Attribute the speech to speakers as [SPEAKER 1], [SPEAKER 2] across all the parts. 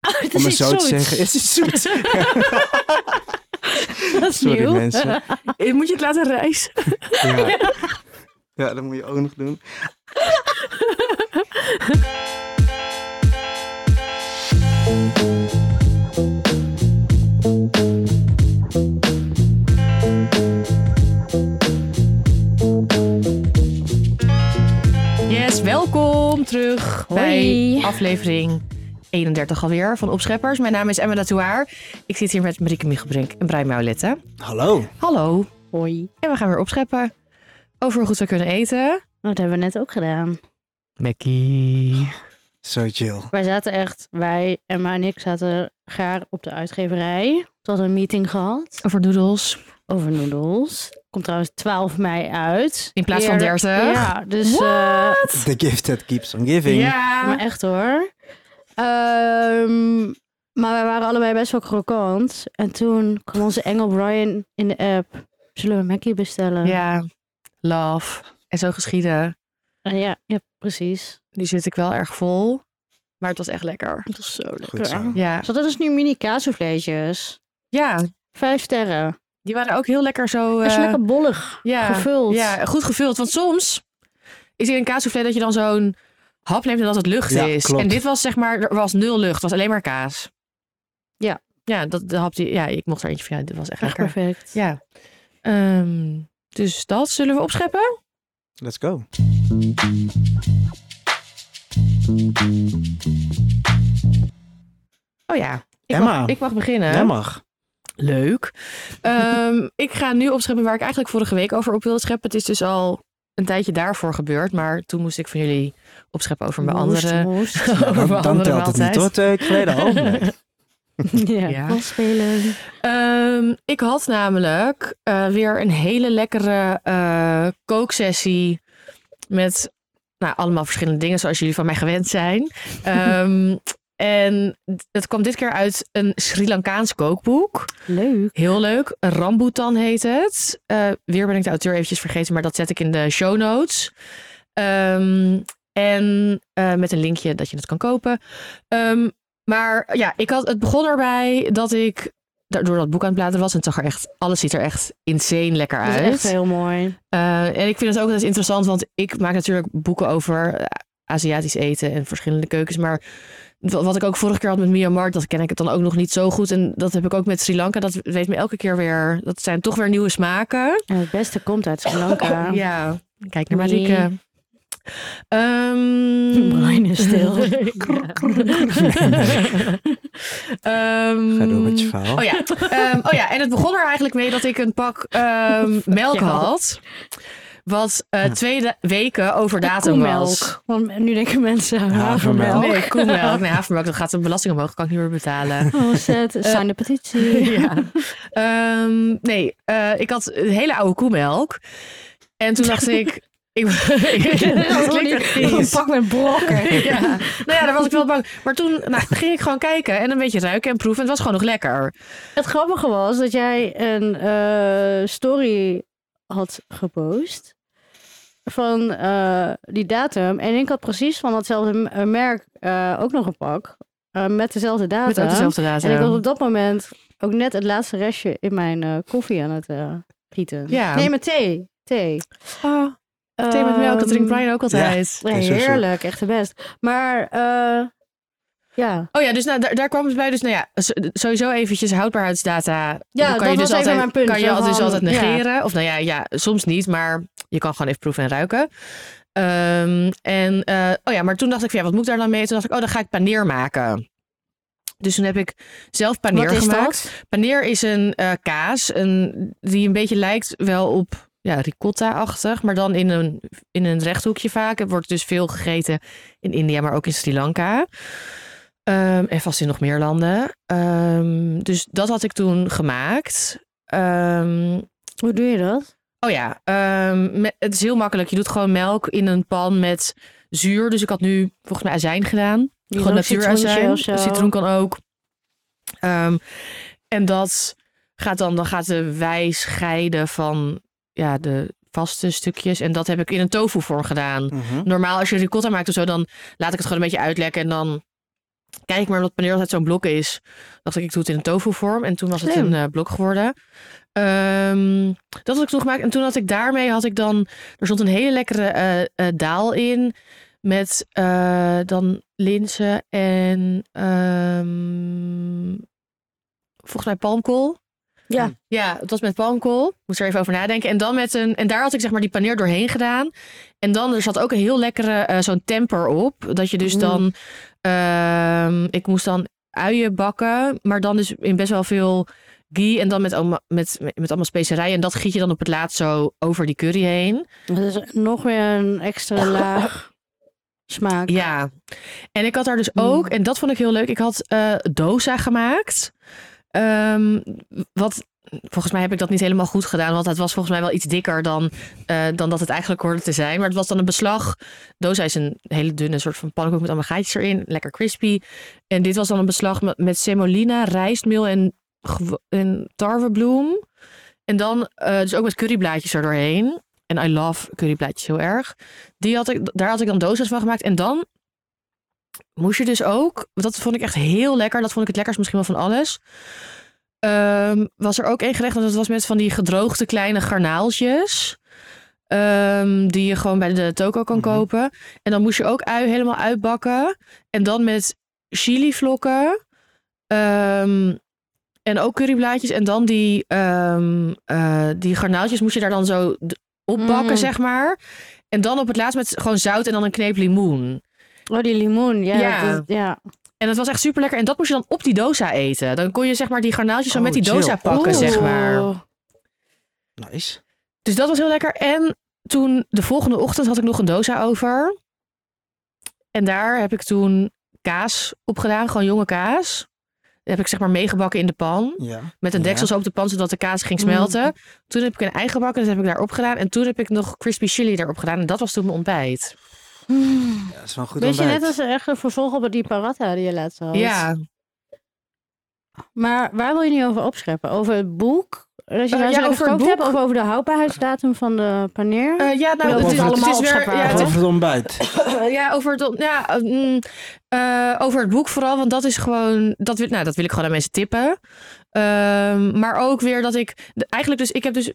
[SPEAKER 1] het
[SPEAKER 2] om
[SPEAKER 1] is
[SPEAKER 2] het
[SPEAKER 1] iets
[SPEAKER 2] zo te
[SPEAKER 1] zoets.
[SPEAKER 2] zeggen. Is iets zoets.
[SPEAKER 1] Dat is
[SPEAKER 2] Sorry
[SPEAKER 1] nieuw.
[SPEAKER 2] mensen.
[SPEAKER 3] Eh, Moet je het laten rijzen?
[SPEAKER 2] Ja. ja, dat moet je ook nog doen.
[SPEAKER 3] Yes, welkom terug
[SPEAKER 1] Hoi.
[SPEAKER 3] bij aflevering 31 alweer van Opscheppers. Mijn naam is Emma Datouaar. Ik zit hier met Marieke Michelbrink en Brian Maulette.
[SPEAKER 2] Hallo.
[SPEAKER 3] Hallo.
[SPEAKER 1] Hoi.
[SPEAKER 3] En we gaan weer opscheppen over hoe goed we kunnen eten.
[SPEAKER 1] Dat hebben we net ook gedaan.
[SPEAKER 3] Mackie.
[SPEAKER 2] Zo chill.
[SPEAKER 1] Wij zaten echt, wij, Emma en ik zaten gaar op de uitgeverij. Tot een meeting gehad
[SPEAKER 3] Over noedels.
[SPEAKER 1] over noedels. Komt trouwens 12 mei uit.
[SPEAKER 3] In plaats van 30.
[SPEAKER 1] Ja, dus... eh,
[SPEAKER 2] The gift that keeps on giving.
[SPEAKER 3] Ja.
[SPEAKER 1] Maar echt hoor. Ehm, maar wij waren allebei best wel krokant. En toen kwam onze engel Brian in de app. Zullen we Mackie bestellen?
[SPEAKER 3] Ja. Love. En zo geschieden.
[SPEAKER 1] En Eh, ja, ja, precies.
[SPEAKER 3] Nu zit ik wel erg vol. Maar het was echt lekker.
[SPEAKER 1] Dat is zo lekker.
[SPEAKER 2] Goed zo.
[SPEAKER 3] Ja.
[SPEAKER 1] Ze hadden dus nu mini kaassouffleetjes.
[SPEAKER 3] Ja.
[SPEAKER 1] Vijf sterren.
[SPEAKER 3] Die waren ook heel lekker zo...
[SPEAKER 1] Is
[SPEAKER 3] eh,
[SPEAKER 1] lekker bollig.
[SPEAKER 3] ja.
[SPEAKER 1] Gevuld.
[SPEAKER 3] Ja, goed gevuld. Want soms is in een kaassoufflé dat je dan zo'n hap neemt en dat het lucht
[SPEAKER 2] Ja,
[SPEAKER 3] is.
[SPEAKER 2] klopt.
[SPEAKER 3] En dit was zeg maar, er was nul lucht. Het was alleen maar kaas.
[SPEAKER 1] Ja.
[SPEAKER 3] Ja, dat, de hap die, ja ik mocht er eentje van. Ja, dit was echt
[SPEAKER 1] Echt
[SPEAKER 3] lekker.
[SPEAKER 1] perfect.
[SPEAKER 3] Ja. Ehm, dus dat zullen we opscheppen.
[SPEAKER 2] Let's go.
[SPEAKER 3] Oh ja. Ik
[SPEAKER 2] Emma.
[SPEAKER 3] Mag, ik mag beginnen.
[SPEAKER 2] Jij mag.
[SPEAKER 3] Leuk. Ehm, ik ga nu opscheppen waar ik eigenlijk vorige week over op wilde scheppen. Het is dus al een tijdje daarvoor gebeurd. Maar toen moest ik van jullie opscheppen over mijn
[SPEAKER 1] Moest,
[SPEAKER 3] andere...
[SPEAKER 1] moest.
[SPEAKER 3] over
[SPEAKER 2] Ja, dan,
[SPEAKER 3] mijn
[SPEAKER 2] dan
[SPEAKER 3] andere
[SPEAKER 2] telt het niet
[SPEAKER 3] maaltijd.
[SPEAKER 2] hoor. Twee weken geleden al. Nee.
[SPEAKER 1] ja.
[SPEAKER 3] Ja.
[SPEAKER 1] Bal spelen.
[SPEAKER 3] Ehm, ik had namelijk eh, weer een hele lekkere eh, kooksessie met nou, allemaal verschillende dingen zoals jullie van mij gewend zijn. Ehm, en het kwam dit keer uit een Sri Lankaans kookboek.
[SPEAKER 1] Leuk.
[SPEAKER 3] Heel leuk. Rambutan heet het. Eh, weer ben ik de auteur eventjes vergeten, maar dat zet ik in de show notes. Ehm, en eh, met een linkje dat je het kan kopen. Ehm, maar ja, ik had, het begon erbij dat ik daardoor dat boek aan het bladeren was. En het zag er echt, alles ziet er echt insane lekker
[SPEAKER 1] Dat is
[SPEAKER 3] uit.
[SPEAKER 1] echt heel mooi.
[SPEAKER 3] Eh, en ik vind het ook wel eens interessant, want ik maak natuurlijk boeken over eh, Aziatisch eten en verschillende keukens. Maar wa- wat ik ook vorige keer had met Myanmar, dat ken ik het dan ook nog niet zo goed. En dat heb ik ook met Sri Lanka. Dat weet me elke keer weer. Dat zijn toch weer nieuwe smaken.
[SPEAKER 1] En het beste komt uit Sri Lanka.
[SPEAKER 3] Ja. Kijk naar
[SPEAKER 1] Nee.
[SPEAKER 3] Marieke. Ehm,
[SPEAKER 1] Brian is stil.
[SPEAKER 3] Ehm,
[SPEAKER 2] Ga door met je verhaal.
[SPEAKER 3] Oh ja. Ehm, oh ja, en het begon er eigenlijk mee dat ik een pak ehm, melk
[SPEAKER 1] Ja.
[SPEAKER 3] had. Wat eh, twee da- weken over datum
[SPEAKER 1] Koemelk.
[SPEAKER 3] was.
[SPEAKER 1] Want nu denken mensen "Ah, havermelk.
[SPEAKER 2] Havermelk.
[SPEAKER 3] Nee, koemelk. Nee, havermelk. Dat gaat de belasting omhoog. Kan ik niet meer betalen.
[SPEAKER 1] Oh, zet. Sign de petitie.
[SPEAKER 3] Ehm, nee, eh, ik had een hele oude koemelk. En toen dacht ik... ik dat klinkt echt
[SPEAKER 1] Een
[SPEAKER 3] vies.
[SPEAKER 1] pak met brokken.
[SPEAKER 3] Ja. Nou ja, daar was ik wel bang. Maar toen nou, ging ik gewoon kijken en een beetje ruiken en proeven. En het was gewoon nog lekker.
[SPEAKER 1] Het grappige was dat jij een eh, story had gepost van eh, die datum. En ik had precies van datzelfde m- eh, merk eh, ook nog een pak eh, met dezelfde datum.
[SPEAKER 3] Met ook dezelfde datum.
[SPEAKER 1] En ik was op dat moment ook net het laatste restje in mijn eh, koffie aan het eh, gieten.
[SPEAKER 3] Ja.
[SPEAKER 1] Nee, met thee. Thee.
[SPEAKER 3] Ah, thee met melk, dat drinkt
[SPEAKER 1] Ehm,
[SPEAKER 3] Brian ook altijd.
[SPEAKER 1] ja,
[SPEAKER 2] Is ook zo.
[SPEAKER 1] heerlijk, echt de best. Maar eh, ja.
[SPEAKER 3] Oh ja, dus nou, daar, daar kwam het bij. Dus nou ja, s- sowieso eventjes houdbaarheidsdata.
[SPEAKER 1] Ja,
[SPEAKER 3] Dan kan
[SPEAKER 1] dat
[SPEAKER 3] je dus
[SPEAKER 1] was even
[SPEAKER 3] altijd,
[SPEAKER 1] mijn punt.
[SPEAKER 3] Kan je
[SPEAKER 1] Zo
[SPEAKER 3] al- dus
[SPEAKER 1] van,
[SPEAKER 3] altijd
[SPEAKER 1] ja.
[SPEAKER 3] negeren. Of nou ja, ja, soms niet, maar je kan gewoon even proeven en ruiken. Ehm, en eh, oh ja, maar toen dacht ik van ja, wat moet ik daar dan mee? Toen dacht ik, oh, dan ga ik paneer maken. Dus toen heb ik zelf paneer
[SPEAKER 1] Wat is
[SPEAKER 3] gemaakt.
[SPEAKER 1] dat?
[SPEAKER 3] Paneer is een eh, kaas een, die een beetje lijkt wel op ja, ricotta-achtig, maar dan in een, in een rechthoekje vaak. Het wordt dus veel gegeten in India, maar ook in Sri Lanka. Ehm, en vast in nog meer landen. Ehm, dus dat had ik toen gemaakt. Ehm,
[SPEAKER 1] Hoe doe je dat?
[SPEAKER 3] oh ja, ehm, me- het is heel makkelijk. Je doet gewoon melk in een pan met zuur. Dus ik had nu volgens mij azijn gedaan. Gewoon natuurazijn. Citroen kan ook. Ehm, en dat gaat dan, dan gaat de wij scheiden van ja, de vaste stukjes. En dat heb ik in een tofu vorm gedaan.
[SPEAKER 2] Mhm.
[SPEAKER 3] Normaal als je ricotta maakt of zo, dan laat ik het gewoon een beetje uitlekken. En dan Kijk maar, omdat paneer altijd zo'n blok is. Dacht ik, ik doe het in een tofu vorm. En toen was het
[SPEAKER 1] Slim.
[SPEAKER 3] een eh, blok geworden. Ehm, dat had ik toen gemaakt. En toen had ik daarmee, had ik dan, er stond een hele lekkere eh, eh, daal in. Met eh, dan linzen en ehm, volgens mij palmkool.
[SPEAKER 1] Ja.
[SPEAKER 3] Ja, het was met palmkool. Moest er even over nadenken. En, dan met een, en daar had ik zeg maar die paneer doorheen gedaan. En dan, er zat ook een heel lekkere eh, zo'n temper op. Dat je dus
[SPEAKER 1] Mm.
[SPEAKER 3] dan, ehm, ik moest dan uien bakken. Maar dan dus in best wel veel ghee. En dan met, allemaal- met, met allemaal specerijen. En dat giet je dan op het laatst zo over die curry heen.
[SPEAKER 1] Dat is nog weer een extra laag smaak.
[SPEAKER 3] Oh. Ja. En ik had daar dus
[SPEAKER 1] Mm.
[SPEAKER 3] ook, en dat vond ik heel leuk, ik had eh dosa gemaakt. Ehm, wat, volgens mij heb ik dat niet helemaal goed gedaan, want het was volgens mij wel iets dikker dan, eh, dan dat het eigenlijk hoorde te zijn. Maar het was dan een beslag. Dosa is een hele dunne soort van pannenkoek met allemaal gaatjes erin, lekker crispy. En dit was dan een beslag met, met semolina, rijstmeel en, gew- en tarwebloem. En dan eh, dus ook met curryblaadjes erdoorheen. En I love curryblaadjes heel erg. Die had ik, daar had ik dan dosa's van gemaakt. En dan moest je dus ook, dat vond ik echt heel lekker. Dat vond ik het lekkerst misschien wel van alles. Ehm, was er ook één gerecht, want dat was met van die gedroogde kleine garnaaltjes. ehm, die je gewoon bij de toko kan
[SPEAKER 2] Mhm.
[SPEAKER 3] kopen. En dan moest je ook ui helemaal uitbakken. En dan met chilivlokken. ehm, en ook curryblaadjes. En dan die, ehm, eh, die garnaaltjes moest je daar dan zo d- opbakken,
[SPEAKER 1] Mm.
[SPEAKER 3] zeg maar. En dan op het laatst met gewoon zout en dan een kneep limoen.
[SPEAKER 1] Oh, die limoen. Ja,
[SPEAKER 3] Ja.
[SPEAKER 1] dat is- ja.
[SPEAKER 3] En dat was echt super lekker. En dat moest je dan op die dosa eten. Dan kon je zeg maar die garnaaltjes zo
[SPEAKER 2] Oh,
[SPEAKER 3] met die dosa
[SPEAKER 2] chill.
[SPEAKER 3] pakken,
[SPEAKER 1] Oeh.
[SPEAKER 3] zeg maar.
[SPEAKER 2] Nice.
[SPEAKER 3] Dus dat was heel lekker. En toen de volgende ochtend had ik nog een dosa over. En daar heb ik toen kaas op gedaan, gewoon jonge kaas. Die heb ik zeg maar meegebakken in de pan.
[SPEAKER 2] Ja.
[SPEAKER 3] Met een
[SPEAKER 2] Ja.
[SPEAKER 3] deksel zo op de pan, zodat de kaas ging smelten. Toen heb ik een ei gebakken, dat heb ik daarop gedaan. En toen heb ik nog crispy chili daarop gedaan. En dat was toen mijn ontbijt.
[SPEAKER 1] Mm.
[SPEAKER 2] ja, dat is wel een goed
[SPEAKER 1] Weet je,
[SPEAKER 2] ontbijt.
[SPEAKER 1] net als echt een vervolg op die paratha die je laatst had.
[SPEAKER 3] Ja,
[SPEAKER 1] Maar waar wil je nu over opscheppen? Over het boek? Dat je
[SPEAKER 3] Eh,
[SPEAKER 1] nou
[SPEAKER 3] ja,
[SPEAKER 1] zo lekker
[SPEAKER 3] over het
[SPEAKER 1] gekookt hebt?
[SPEAKER 3] boek.
[SPEAKER 1] Of over de houdbaarheidsdatum van de paneer?
[SPEAKER 3] Eh, ja nou,
[SPEAKER 1] Ja,
[SPEAKER 3] het
[SPEAKER 2] over het
[SPEAKER 3] is, het is
[SPEAKER 1] allemaal
[SPEAKER 3] weer...
[SPEAKER 1] opschepbaar,
[SPEAKER 3] Ja,
[SPEAKER 1] hoor.
[SPEAKER 3] het
[SPEAKER 2] Wat over het ontbijt.
[SPEAKER 3] Eh, Ja, over het, ja, mm, eh, over het boek vooral. Want dat is gewoon. Dat wil, nou, dat wil ik gewoon aan mensen tippen. Ehm, maar ook weer dat ik. de- Eigenlijk dus, ik heb dus.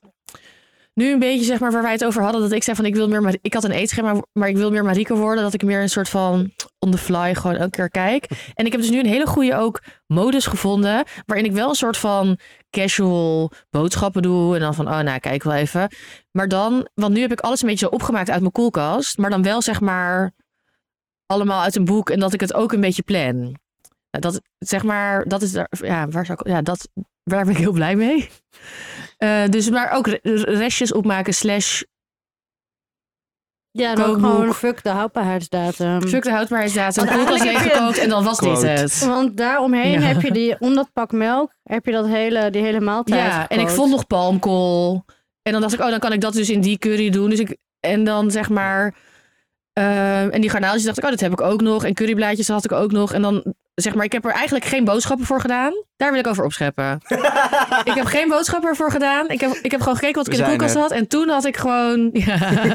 [SPEAKER 3] Nu een beetje zeg maar waar wij het over hadden. Dat ik zei van ik wil meer. Mar- Ik had een eetschema, maar ik wil meer Marieke worden. Dat ik meer een soort van on the fly gewoon elke keer kijk. En ik heb dus nu een hele goede ook modus gevonden. Waarin ik wel een soort van casual boodschappen doe. En dan van, oh nou, kijk wel even. Maar dan, want nu heb ik alles een beetje zo opgemaakt uit mijn koelkast. Maar dan wel zeg maar allemaal uit een boek. En dat ik het ook een beetje plan. Nou, dat, zeg maar, dat is daar, ja, waar zou ik, ja, dat, daar ben ik heel blij mee. Eh, dus maar ook re- restjes opmaken slash
[SPEAKER 1] ja, dan ook
[SPEAKER 3] kookboek.
[SPEAKER 1] gewoon fuck de houdbaarheidsdatum.
[SPEAKER 3] fuck de houdbaarheidsdatum,
[SPEAKER 1] Want
[SPEAKER 3] koelkast
[SPEAKER 1] eigenlijk heb je-
[SPEAKER 3] leeggekookt en dan was dit
[SPEAKER 2] Quote.
[SPEAKER 3] het.
[SPEAKER 1] Want daaromheen
[SPEAKER 3] Ja.
[SPEAKER 1] heb je die, om dat pak melk, heb je dat hele, die hele maaltijd.
[SPEAKER 3] Ja, en ik
[SPEAKER 1] gekookt.
[SPEAKER 3] vond nog palmkool. En dan dacht ik, oh, dan kan ik dat dus in die curry doen. Dus ik, en dan zeg maar. ehm, en die garnaaltjes dacht ik, oh, dat heb ik ook nog. En curryblaadjes had ik ook nog. En dan zeg maar, ik heb er eigenlijk geen boodschappen voor gedaan. Daar wil ik over opscheppen. ik heb geen boodschappen ervoor gedaan. Ik heb, ik heb gewoon gekeken wat ik
[SPEAKER 2] We
[SPEAKER 3] in de
[SPEAKER 2] zijn
[SPEAKER 3] koelkast
[SPEAKER 2] er.
[SPEAKER 3] had. En toen had ik gewoon. Ja.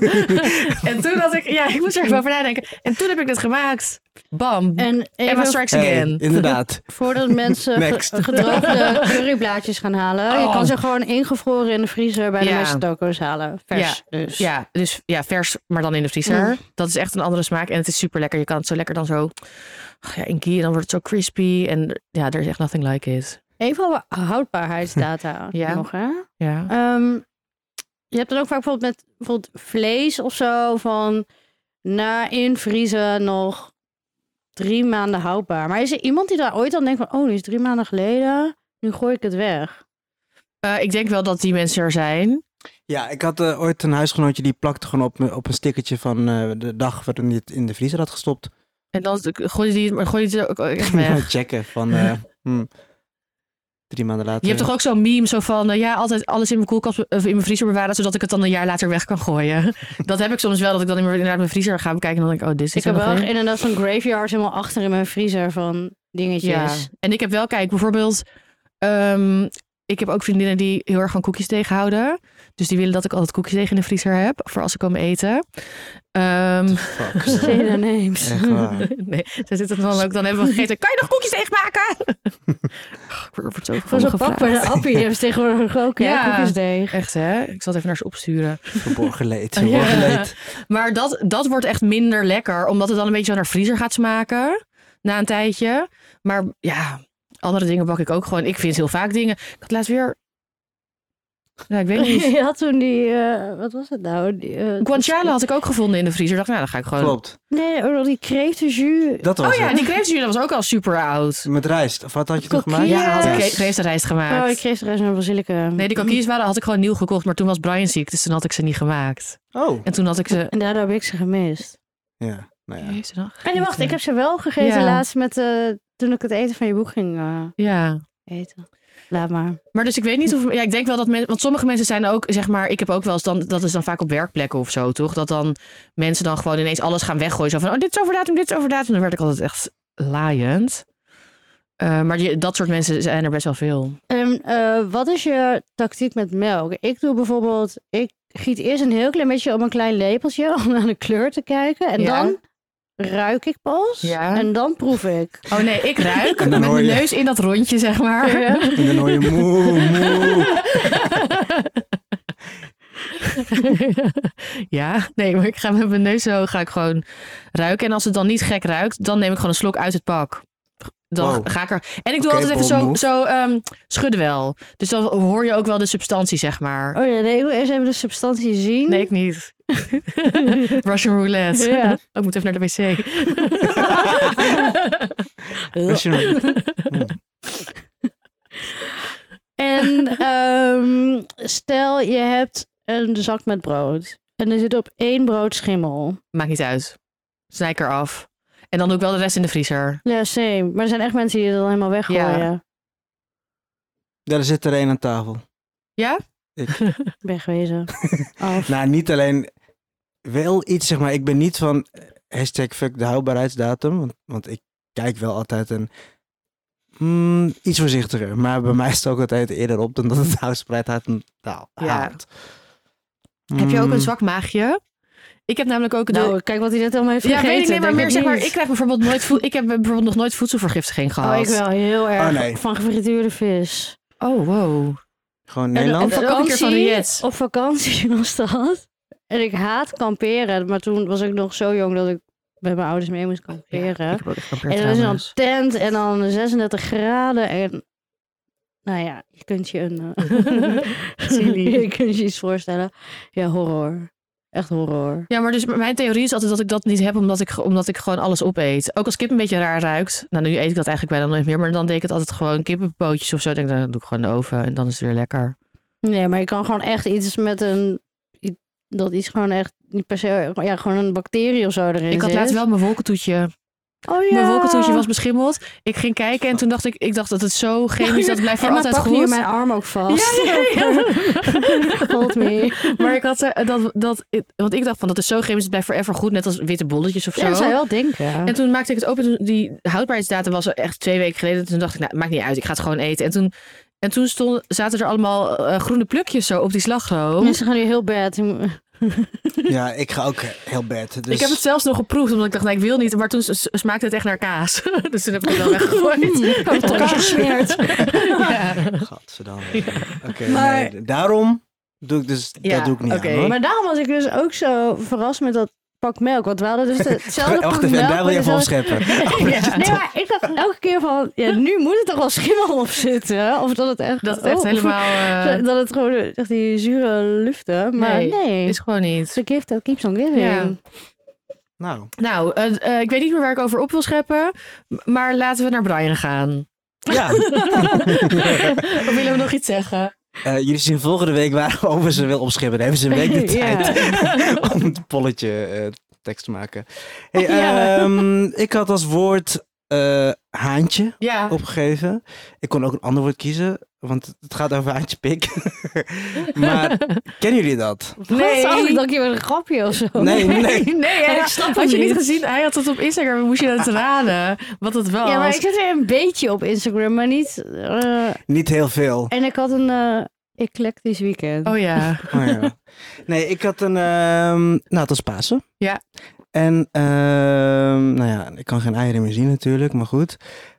[SPEAKER 3] en toen had ik. Ja, ik moest er even over nadenken. En toen heb ik dit gemaakt. Bam.
[SPEAKER 1] En
[SPEAKER 3] Emma
[SPEAKER 1] even
[SPEAKER 3] strikes
[SPEAKER 2] Hey,
[SPEAKER 3] again.
[SPEAKER 2] inderdaad.
[SPEAKER 1] voordat mensen ge-
[SPEAKER 2] Next.
[SPEAKER 1] gedroogde curryblaadjes gaan halen. Je
[SPEAKER 3] Oh.
[SPEAKER 1] kan ze gewoon ingevroren in de vriezer bij de
[SPEAKER 3] Ja.
[SPEAKER 1] meeste toko's halen. Vers dus.
[SPEAKER 3] Ja, dus ja, vers, maar dan in de vriezer.
[SPEAKER 1] Mm.
[SPEAKER 3] Dat is echt een andere smaak en het is super lekker. Je kan het zo lekker dan zo ach ja, in ghee en dan wordt het zo crispy. En er- ja, er is echt nothing like it.
[SPEAKER 1] Even over houdbaarheidsdata
[SPEAKER 3] Ja.
[SPEAKER 1] nog, hè?
[SPEAKER 3] Ja.
[SPEAKER 1] Ehm, je hebt dan ook vaak bijvoorbeeld met bijvoorbeeld vlees of zo van na invriezen nog drie maanden houdbaar. Maar is er iemand die daar ooit dan denkt van, oh, nu is drie maanden geleden, nu gooi ik het weg.
[SPEAKER 3] Eh, ik denk wel dat die mensen er zijn.
[SPEAKER 2] Ja, ik had eh, ooit een huisgenootje die plakte gewoon op, me- op een stickertje van eh, de dag waarin hij het in de vriezer had gestopt.
[SPEAKER 3] En dan gooi je die, maar gooi je die ook oh, echt weg.
[SPEAKER 2] checken van eh, hm, drie maanden later.
[SPEAKER 3] Je hebt toch ook zo'n meme zo van, eh, ja, altijd alles in mijn koelkast be- of in mijn vriezer bewaren, zodat ik het dan een jaar later weg kan gooien. dat heb ik soms wel, dat ik dan in mijn- inderdaad mijn vriezer ga bekijken en dan denk ik, oh, dit is
[SPEAKER 1] ik heb
[SPEAKER 3] er nog
[SPEAKER 1] wel
[SPEAKER 3] een.
[SPEAKER 1] inderdaad zo'n graveyard helemaal achter in mijn vriezer van dingetjes.
[SPEAKER 3] Ja. En ik heb wel, kijk, bijvoorbeeld. ehm, ik heb ook vriendinnen die heel erg van koekjes tegenhouden. Dus die willen dat ik altijd koekjes tegen in de vriezer heb. Voor als ze komen eten. Ehm,
[SPEAKER 2] Fuck.
[SPEAKER 1] Zena neemt.
[SPEAKER 2] Echt waar.
[SPEAKER 3] nee, ze zitten dan ook. Dan hebben we gegeten. Kan je nog koekjes tegenmaken? ik word er zo
[SPEAKER 1] Voor
[SPEAKER 3] van
[SPEAKER 1] zo'n pak bij de
[SPEAKER 3] gevraagd.
[SPEAKER 1] appie hebben ze tegenwoordig ook hè,
[SPEAKER 3] Ja.
[SPEAKER 1] koekjesdeeg.
[SPEAKER 3] Echt hè? Ik zal het even naar ze opsturen.
[SPEAKER 2] Verborgen leed.
[SPEAKER 3] Oh, Ja.
[SPEAKER 2] Verborgen leed.
[SPEAKER 3] Maar dat, dat wordt echt minder lekker, omdat het dan een beetje zo naar vriezer gaat smaken na een tijdje. Maar ja, andere dingen bak ik ook gewoon. Ik vind heel vaak dingen. Ik had laatst weer. Nou, ik weet niet.
[SPEAKER 1] Je had toen die, eh, wat was het nou? Die, eh,
[SPEAKER 3] Guanciale had ik ook gevonden in de vriezer. Ik dacht, nou, dan ga ik gewoon.
[SPEAKER 2] Klopt.
[SPEAKER 1] Nee, ook nog die kreeftenjus.
[SPEAKER 2] Dat was
[SPEAKER 3] Oh ja, en
[SPEAKER 2] het.
[SPEAKER 3] die kreeftensjus dat was ook al super oud.
[SPEAKER 2] Met rijst. Of wat had je toch
[SPEAKER 1] Kokkies.
[SPEAKER 2] gemaakt?
[SPEAKER 3] Ja, had ik
[SPEAKER 1] Yes.
[SPEAKER 3] kre- kreeftenrijst
[SPEAKER 1] Oh,
[SPEAKER 3] gemaakt.
[SPEAKER 1] ik kreeg er eens een basilicum.
[SPEAKER 3] Nee, die kokkies waren had ik gewoon nieuw gekocht, maar toen was Brian ziek, dus toen had ik ze niet gemaakt.
[SPEAKER 2] Oh.
[SPEAKER 3] En toen had ik ze.
[SPEAKER 1] En daardoor heb ik ze gemist.
[SPEAKER 2] Ja. Nou ja.
[SPEAKER 3] Jezus, nog
[SPEAKER 1] En wacht, ik heb ze wel gegeten
[SPEAKER 3] Ja.
[SPEAKER 1] laatst met, eh, toen ik het eten van je boek ging eh,
[SPEAKER 3] Ja.
[SPEAKER 1] eten. Laat maar.
[SPEAKER 3] Maar dus ik weet niet of... Ja, ik denk wel dat mensen... Want sommige mensen zijn ook, zeg maar... Ik heb ook wel eens dan... Dat is dan vaak op werkplekken of zo, toch? Dat dan mensen dan gewoon ineens alles gaan weggooien. Zo van, oh, dit is overdatum, dit is overdatum. Dan werd ik altijd echt laaiend. Eh, maar die- dat soort mensen zijn er best wel veel.
[SPEAKER 1] En eh, wat is je tactiek met melk? Ik doe bijvoorbeeld, ik giet eerst een heel klein beetje op een klein lepeltje om naar de kleur te kijken. En
[SPEAKER 3] Ja.
[SPEAKER 1] dan ruik ik pas.
[SPEAKER 3] Ja.
[SPEAKER 1] En dan proef ik.
[SPEAKER 3] Oh nee, ik ruik
[SPEAKER 2] En dan
[SPEAKER 3] met
[SPEAKER 2] hoor
[SPEAKER 3] mijn
[SPEAKER 2] je-
[SPEAKER 3] neus in dat rondje, zeg maar.
[SPEAKER 2] En dan hoor je moe, moe.
[SPEAKER 3] ja, nee, maar ik ga met mijn neus zo ga ik gewoon ruiken. En als het dan niet gek ruikt, dan neem ik gewoon een slok uit het pak. Dan
[SPEAKER 2] Wow.
[SPEAKER 3] ga ik er. En ik doe
[SPEAKER 2] Oké,
[SPEAKER 3] altijd even
[SPEAKER 2] bold
[SPEAKER 3] zo,
[SPEAKER 2] move.
[SPEAKER 3] zo ehm, schudden wel. Dus dan hoor je ook wel de substantie, zeg maar.
[SPEAKER 1] Oh ja, nee, ik wil eerst even de substantie zien.
[SPEAKER 3] Nee, ik niet. Russian roulette.
[SPEAKER 1] Ja.
[SPEAKER 3] Oh, ik moet even naar de wc.
[SPEAKER 2] Als je-
[SPEAKER 1] En ehm, stel, je hebt een zak met brood. En er zit op één brood schimmel.
[SPEAKER 3] Maakt niet uit. Snij ik eraf. En dan doe ik wel de rest in de vriezer.
[SPEAKER 1] Ja, same. Maar er zijn echt mensen die het dan helemaal weggooien.
[SPEAKER 2] Daar zit er één aan tafel.
[SPEAKER 1] Wegwezen. Af.
[SPEAKER 2] Nou, niet alleen wel iets, zeg maar. Ik ben niet van eh, hashtag fuck de houdbaarheidsdatum. Want, want ik kijk wel altijd een mm, iets voorzichtiger. Maar bij mij staat ook altijd eerder op dan dat het houdbaarheid haalt. Hmm,
[SPEAKER 3] Ja. Heb je
[SPEAKER 2] Mm.
[SPEAKER 3] ook een zwak maagje? Ik heb namelijk ook de...
[SPEAKER 1] nou, kijk wat hij net allemaal heeft
[SPEAKER 3] Ja,
[SPEAKER 1] gegeten.
[SPEAKER 3] weet ik niet, maar
[SPEAKER 1] denk
[SPEAKER 3] meer
[SPEAKER 1] het
[SPEAKER 3] zeg maar,
[SPEAKER 1] niet.
[SPEAKER 3] ik krijg bijvoorbeeld nooit voed, ik heb bijvoorbeeld nog nooit voedselvergiftiging gehad.
[SPEAKER 1] Oh, ik wel. Heel erg.
[SPEAKER 2] Oh, nee.
[SPEAKER 1] Van gefrituurde vis.
[SPEAKER 3] Oh, wow.
[SPEAKER 2] Gewoon
[SPEAKER 1] En
[SPEAKER 2] Nederland?
[SPEAKER 1] op
[SPEAKER 3] Ook een keer van
[SPEAKER 1] vakantie,
[SPEAKER 3] Riet.
[SPEAKER 1] op vakantie was dat. En ik haat kamperen. Maar toen was ik nog zo jong dat ik met mijn ouders mee moest kamperen.
[SPEAKER 3] Ja, ik heb ook echt kamperen
[SPEAKER 1] En dan is er een
[SPEAKER 3] trauma's.
[SPEAKER 1] tent en dan 36 graden en... Nou ja, je kunt je een... eh,
[SPEAKER 3] Silly.
[SPEAKER 1] je kunt je iets voorstellen. Ja, horror. Echt horror.
[SPEAKER 3] Ja, maar dus mijn theorie is altijd dat ik dat niet heb omdat ik, omdat ik gewoon alles opeet. Ook als kip een beetje raar ruikt. Nou, nu eet ik dat eigenlijk bijna nooit meer. Maar dan deed ik het altijd gewoon kippenpootjes of zo. Denk ik, dan doe ik gewoon de oven en dan is het weer lekker.
[SPEAKER 1] Nee, maar je kan gewoon echt iets met een... i- Dat iets gewoon echt niet per se... Ja, gewoon een bacterie of zo erin
[SPEAKER 3] Ik had
[SPEAKER 1] zit.
[SPEAKER 3] laatst wel mijn wolkentoetje.
[SPEAKER 1] Oh ja.
[SPEAKER 3] Mijn wolkentoetje was beschimmeld. Ik ging kijken en toen dacht ik, ik dacht dat het zo chemisch dat blijft voor
[SPEAKER 1] Emma
[SPEAKER 3] altijd
[SPEAKER 1] pakt
[SPEAKER 3] goed.
[SPEAKER 1] nu mijn arm ook vast.
[SPEAKER 3] Ja, ja, ja.
[SPEAKER 1] Hold me.
[SPEAKER 3] Maar ik had eh, dat, dat, want ik dacht van dat is zo chemisch, het blijft forever goed, net als witte bolletjes of zo.
[SPEAKER 1] Ja, dat zou je wel denken.
[SPEAKER 3] En toen maakte ik het open, toen- die houdbaarheidsdatum was echt twee weken geleden. Toen dacht ik, nou, maakt niet uit, ik ga het gewoon eten. En toen, en toen stonden, zaten er allemaal eh, groene plukjes zo op die slagroom.
[SPEAKER 1] Mensen gaan nu heel bad.
[SPEAKER 2] Ja, ik ga ook heel bad. Dus
[SPEAKER 3] Ik heb het zelfs nog geproefd, omdat ik dacht, nou, ik wil niet. Maar toen s- s- smaakte het echt naar kaas. dus toen heb ik het wel weggegooid.
[SPEAKER 1] Heb het elkaar gesmeerd.
[SPEAKER 3] ja.
[SPEAKER 2] Gadverdamme.
[SPEAKER 3] Ja.
[SPEAKER 2] Oké,
[SPEAKER 1] Maar-
[SPEAKER 2] nee, daarom doe ik dus...
[SPEAKER 3] Ja,
[SPEAKER 2] dat doe ik niet
[SPEAKER 3] oké.
[SPEAKER 2] aan, hoor.
[SPEAKER 1] Maar daarom was ik dus ook zo verrast met dat pak melk. Want we hadden dus de- hetzelfde pak
[SPEAKER 2] Wacht
[SPEAKER 1] melk.
[SPEAKER 2] even, en daar wil
[SPEAKER 1] met
[SPEAKER 2] je van
[SPEAKER 1] dezelfde-
[SPEAKER 2] scheppen.
[SPEAKER 3] Ja.
[SPEAKER 1] Nee, maar ik dacht elke keer van, ja, nu moet het toch wel schimmel op zitten. Of dat het echt...
[SPEAKER 3] Dat het echt
[SPEAKER 1] oh,
[SPEAKER 3] helemaal eh,
[SPEAKER 1] Dat het gewoon echt die zure luften. Maar nee,
[SPEAKER 3] Nee, is gewoon niet.
[SPEAKER 1] the gift that keeps on giving.
[SPEAKER 3] Ja.
[SPEAKER 2] Nou,
[SPEAKER 3] Nou, eh, eh, ik weet niet meer waar ik over op wil scheppen. m- Maar laten we naar Brian gaan.
[SPEAKER 2] ja.
[SPEAKER 3] Of willen we nog iets zeggen?
[SPEAKER 2] Eh, jullie zien volgende week waarover ze wil opschippen. Dan hebben ze een week de
[SPEAKER 1] Ja.
[SPEAKER 2] tijd om het polletje eh, tekst te maken. Hey,
[SPEAKER 1] Ja.
[SPEAKER 2] ehm, ik had als woord eh, haantje
[SPEAKER 3] Ja.
[SPEAKER 2] opgegeven. Ik kon ook een ander woord kiezen, want het gaat over haantje pik. maar kennen jullie dat?
[SPEAKER 1] Nee. Wat? Oh, ik dacht je met een grapje of zo.
[SPEAKER 2] Nee, nee.
[SPEAKER 3] Nee,
[SPEAKER 1] Ja,
[SPEAKER 3] ja,
[SPEAKER 1] ik snap het
[SPEAKER 3] had je niet
[SPEAKER 1] niet.
[SPEAKER 3] gezien? Hij had het op Instagram. Moest je het raden wat het was?
[SPEAKER 1] Ja, maar ik zit weer een beetje op Instagram, maar niet... eh,
[SPEAKER 2] Niet heel veel.
[SPEAKER 1] en ik had een eh, eclectisch weekend.
[SPEAKER 3] Oh ja.
[SPEAKER 2] Oh, ja. Nee, ik had een... ehm, nou, het was Pasen.
[SPEAKER 3] Ja.
[SPEAKER 2] En, ehm, nou ja, ik kan geen eieren meer zien natuurlijk, maar goed.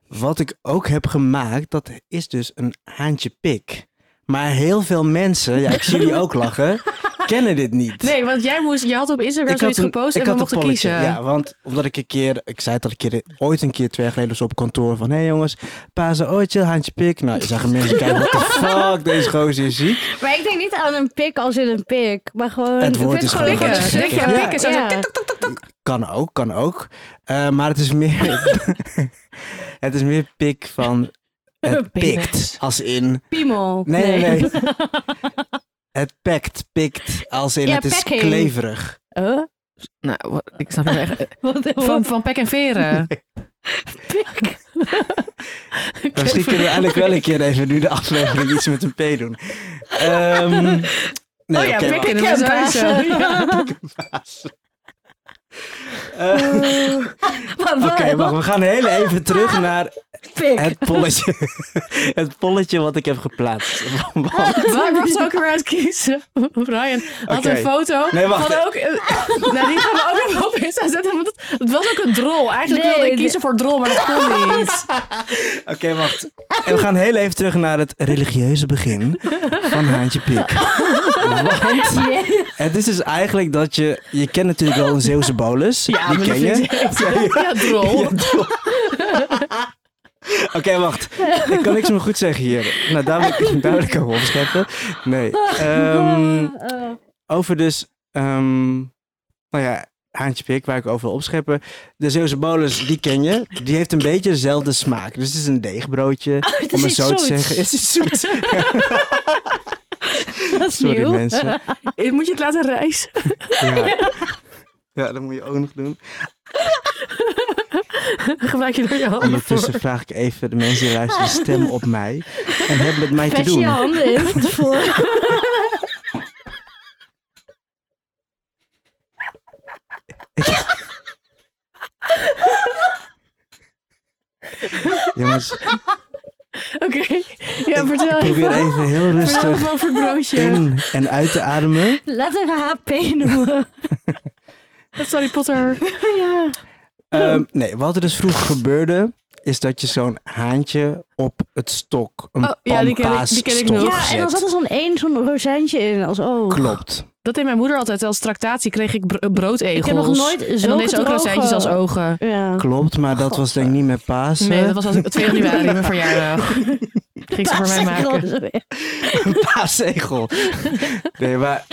[SPEAKER 2] Wat ik ook heb gemaakt, dat is dus een haantje pik. Maar heel veel mensen, ja, ik zie jullie ook lachen, kennen dit niet.
[SPEAKER 3] Nee, want jij moest, je had op Instagram zoiets
[SPEAKER 2] een-
[SPEAKER 3] gepost
[SPEAKER 2] ik
[SPEAKER 3] en we
[SPEAKER 2] had een
[SPEAKER 3] mochten
[SPEAKER 2] polletje,
[SPEAKER 3] kiezen.
[SPEAKER 2] Ja, want omdat ik een keer, ik zei het al een keer, ooit een keer twee jaar geleden was op kantoor van, hé hey jongens, Pasen, oh chill, haantje pik. Nou, je zag mensen kijken, what the fuck, deze gozer is ziek.
[SPEAKER 1] Maar ik denk niet aan een pik als in een pik, maar gewoon...
[SPEAKER 2] Het
[SPEAKER 1] ik vind
[SPEAKER 2] woord is
[SPEAKER 1] gewoon
[SPEAKER 2] gewoon
[SPEAKER 1] lekker.
[SPEAKER 2] een
[SPEAKER 3] Denk je aan
[SPEAKER 2] Ja.
[SPEAKER 3] pikken? Zo, zo,
[SPEAKER 1] Ja.
[SPEAKER 3] tik, tok, tok, tok, tok.
[SPEAKER 2] Kan ook, kan ook. Eh, maar het is meer, het is meer pik van, het
[SPEAKER 3] Penis.
[SPEAKER 2] pikt, als in,
[SPEAKER 1] Piemel.
[SPEAKER 2] nee, nee, nee. Het pekt, pikt, als in
[SPEAKER 1] Ja,
[SPEAKER 2] het is
[SPEAKER 1] pekking.
[SPEAKER 2] kleverig.
[SPEAKER 1] Huh?
[SPEAKER 3] Nou, wat- ik snap het echt.
[SPEAKER 1] Oh, Wat
[SPEAKER 3] Van, van pek en veren.
[SPEAKER 1] pik?
[SPEAKER 2] Misschien kunnen we eigenlijk wel een keer even nu de aflevering iets met een P doen. Ehm, nee,
[SPEAKER 3] oh ja,
[SPEAKER 2] oké,
[SPEAKER 3] pek in
[SPEAKER 1] wacht.
[SPEAKER 3] de
[SPEAKER 1] Pik en
[SPEAKER 3] sowieso. Ja.
[SPEAKER 2] Eh,
[SPEAKER 1] Maar
[SPEAKER 2] Oké,
[SPEAKER 1] wat?
[SPEAKER 2] wacht, we gaan heel even terug naar
[SPEAKER 1] Pik.
[SPEAKER 2] het polletje. het polletje wat ik heb geplaatst. Want-
[SPEAKER 3] Waar mocht ze ook weer uit kiezen? Brian had
[SPEAKER 2] Oké.
[SPEAKER 3] een foto
[SPEAKER 2] Nee, wacht.
[SPEAKER 3] van ook... eh, nou, die gaan we ook even op Insta zetten. Want het, het was ook een drol. Eigenlijk
[SPEAKER 1] Nee,
[SPEAKER 3] wilde ik
[SPEAKER 1] nee.
[SPEAKER 3] kiezen voor drol, maar dat kon niet.
[SPEAKER 2] Oké, wacht. En we gaan heel even terug naar het religieuze begin van Haantje Pik. Want het is dus eigenlijk dat je... Je kent natuurlijk wel een Zeeuwse bolus. die
[SPEAKER 3] maar
[SPEAKER 2] ken
[SPEAKER 3] dat
[SPEAKER 2] je. Oh,
[SPEAKER 3] vind ik echt- Ja, drol.
[SPEAKER 2] Oké, wacht. Ik kan niks meer goed zeggen hier. Nou, daar wil ik, daar wil ik over opscheppen. Nee. ehm,
[SPEAKER 1] Eh,
[SPEAKER 2] over dus... ehm, nou ja, Haantje Pik, waar ik over wil opscheppen. De Zeeuwse bolus, die ken je. Die heeft een beetje dezelfde smaak. Dus het is een deegbroodje.
[SPEAKER 1] Oh, het is
[SPEAKER 2] om het
[SPEAKER 1] iets
[SPEAKER 2] zo te
[SPEAKER 1] zoets.
[SPEAKER 2] zeggen. Het is zoet.
[SPEAKER 1] dat is
[SPEAKER 2] Sorry
[SPEAKER 1] nieuw.
[SPEAKER 2] mensen.
[SPEAKER 3] Eh, Moet je het laten reizen?
[SPEAKER 2] Ja. ja, dat moet je ook nog
[SPEAKER 1] Oh,
[SPEAKER 2] doen.
[SPEAKER 3] Gebruik je er je handen voor.
[SPEAKER 2] Ondertussen vraag ik even de mensen die luisteren stem op mij. En hebben met mij te
[SPEAKER 1] Pest je
[SPEAKER 2] doen.
[SPEAKER 1] handen in van tevoren.
[SPEAKER 2] Jongens,
[SPEAKER 3] Oké. Ja, vertel
[SPEAKER 2] probeer
[SPEAKER 3] even.
[SPEAKER 2] even heel
[SPEAKER 3] Vertel
[SPEAKER 2] rustig
[SPEAKER 3] gewoon voor het broodje.
[SPEAKER 2] in en uit te ademen.
[SPEAKER 1] Laat een HP noemen.
[SPEAKER 3] Sorry, Potter.
[SPEAKER 1] ja.
[SPEAKER 3] Oh.
[SPEAKER 2] Ehm, nee, wat er dus vroeger gebeurde, is dat je zo'n haantje op het stok, een
[SPEAKER 3] Oh, ja, die ken ik- die
[SPEAKER 2] pampaasstok
[SPEAKER 3] ken ik nog.
[SPEAKER 2] gezet.
[SPEAKER 1] ja, en dan zat er
[SPEAKER 3] dus-
[SPEAKER 1] zo'n één zo'n rozijntje in als oh.
[SPEAKER 2] Klopt.
[SPEAKER 3] Dat deed mijn moeder altijd. Als tractatie kreeg ik bro- eh, broodegels.
[SPEAKER 1] Ik heb nog nooit
[SPEAKER 3] En dan
[SPEAKER 1] zo'n
[SPEAKER 3] deed ze ook rozijntjes als ogen.
[SPEAKER 1] Ja.
[SPEAKER 2] Klopt, maar dat was denk ik niet met paas.
[SPEAKER 3] Nee, dat was als ik 2 januari, mijn verjaardag. Ging ze voor mij maken.
[SPEAKER 2] Een paaszegel. Nee, maar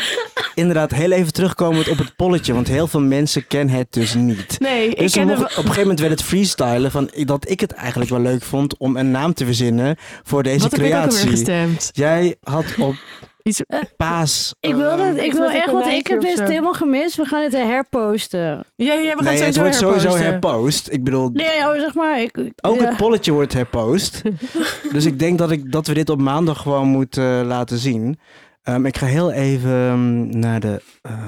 [SPEAKER 2] inderdaad, heel even terugkomend op het polletje. Want heel veel mensen kennen het dus niet.
[SPEAKER 3] Nee, ik
[SPEAKER 2] Dus we
[SPEAKER 3] ken
[SPEAKER 2] mochten-
[SPEAKER 3] hem.
[SPEAKER 2] op een gegeven moment werd het freestylen van ik- dat ik het eigenlijk wel leuk vond om een naam te verzinnen voor deze
[SPEAKER 3] Wat heb ik ook alweer
[SPEAKER 2] creatie.
[SPEAKER 3] gestemd?
[SPEAKER 2] Jij had op
[SPEAKER 3] Iets,
[SPEAKER 2] paas. eh,
[SPEAKER 1] Ik wil, dat, ik
[SPEAKER 3] Iets
[SPEAKER 1] wil
[SPEAKER 3] met een
[SPEAKER 1] echt, want ik
[SPEAKER 3] konijntje
[SPEAKER 1] heb
[SPEAKER 3] of
[SPEAKER 1] dit
[SPEAKER 3] zo.
[SPEAKER 1] helemaal gemist. We gaan het herposten.
[SPEAKER 3] ja, ja, we gaan
[SPEAKER 2] nee,
[SPEAKER 3] het
[SPEAKER 2] het
[SPEAKER 3] sowieso
[SPEAKER 2] wordt sowieso
[SPEAKER 3] herposten.
[SPEAKER 2] herpost. Ik bedoel,
[SPEAKER 1] Nee, oh, zeg maar. Ik, ik-
[SPEAKER 2] Ook
[SPEAKER 1] ja.
[SPEAKER 2] het polletje wordt herpost. dus ik denk dat, ik, dat we dit op maandag gewoon moeten eh, laten zien. Ehm, ik ga heel even ehm, naar de eh,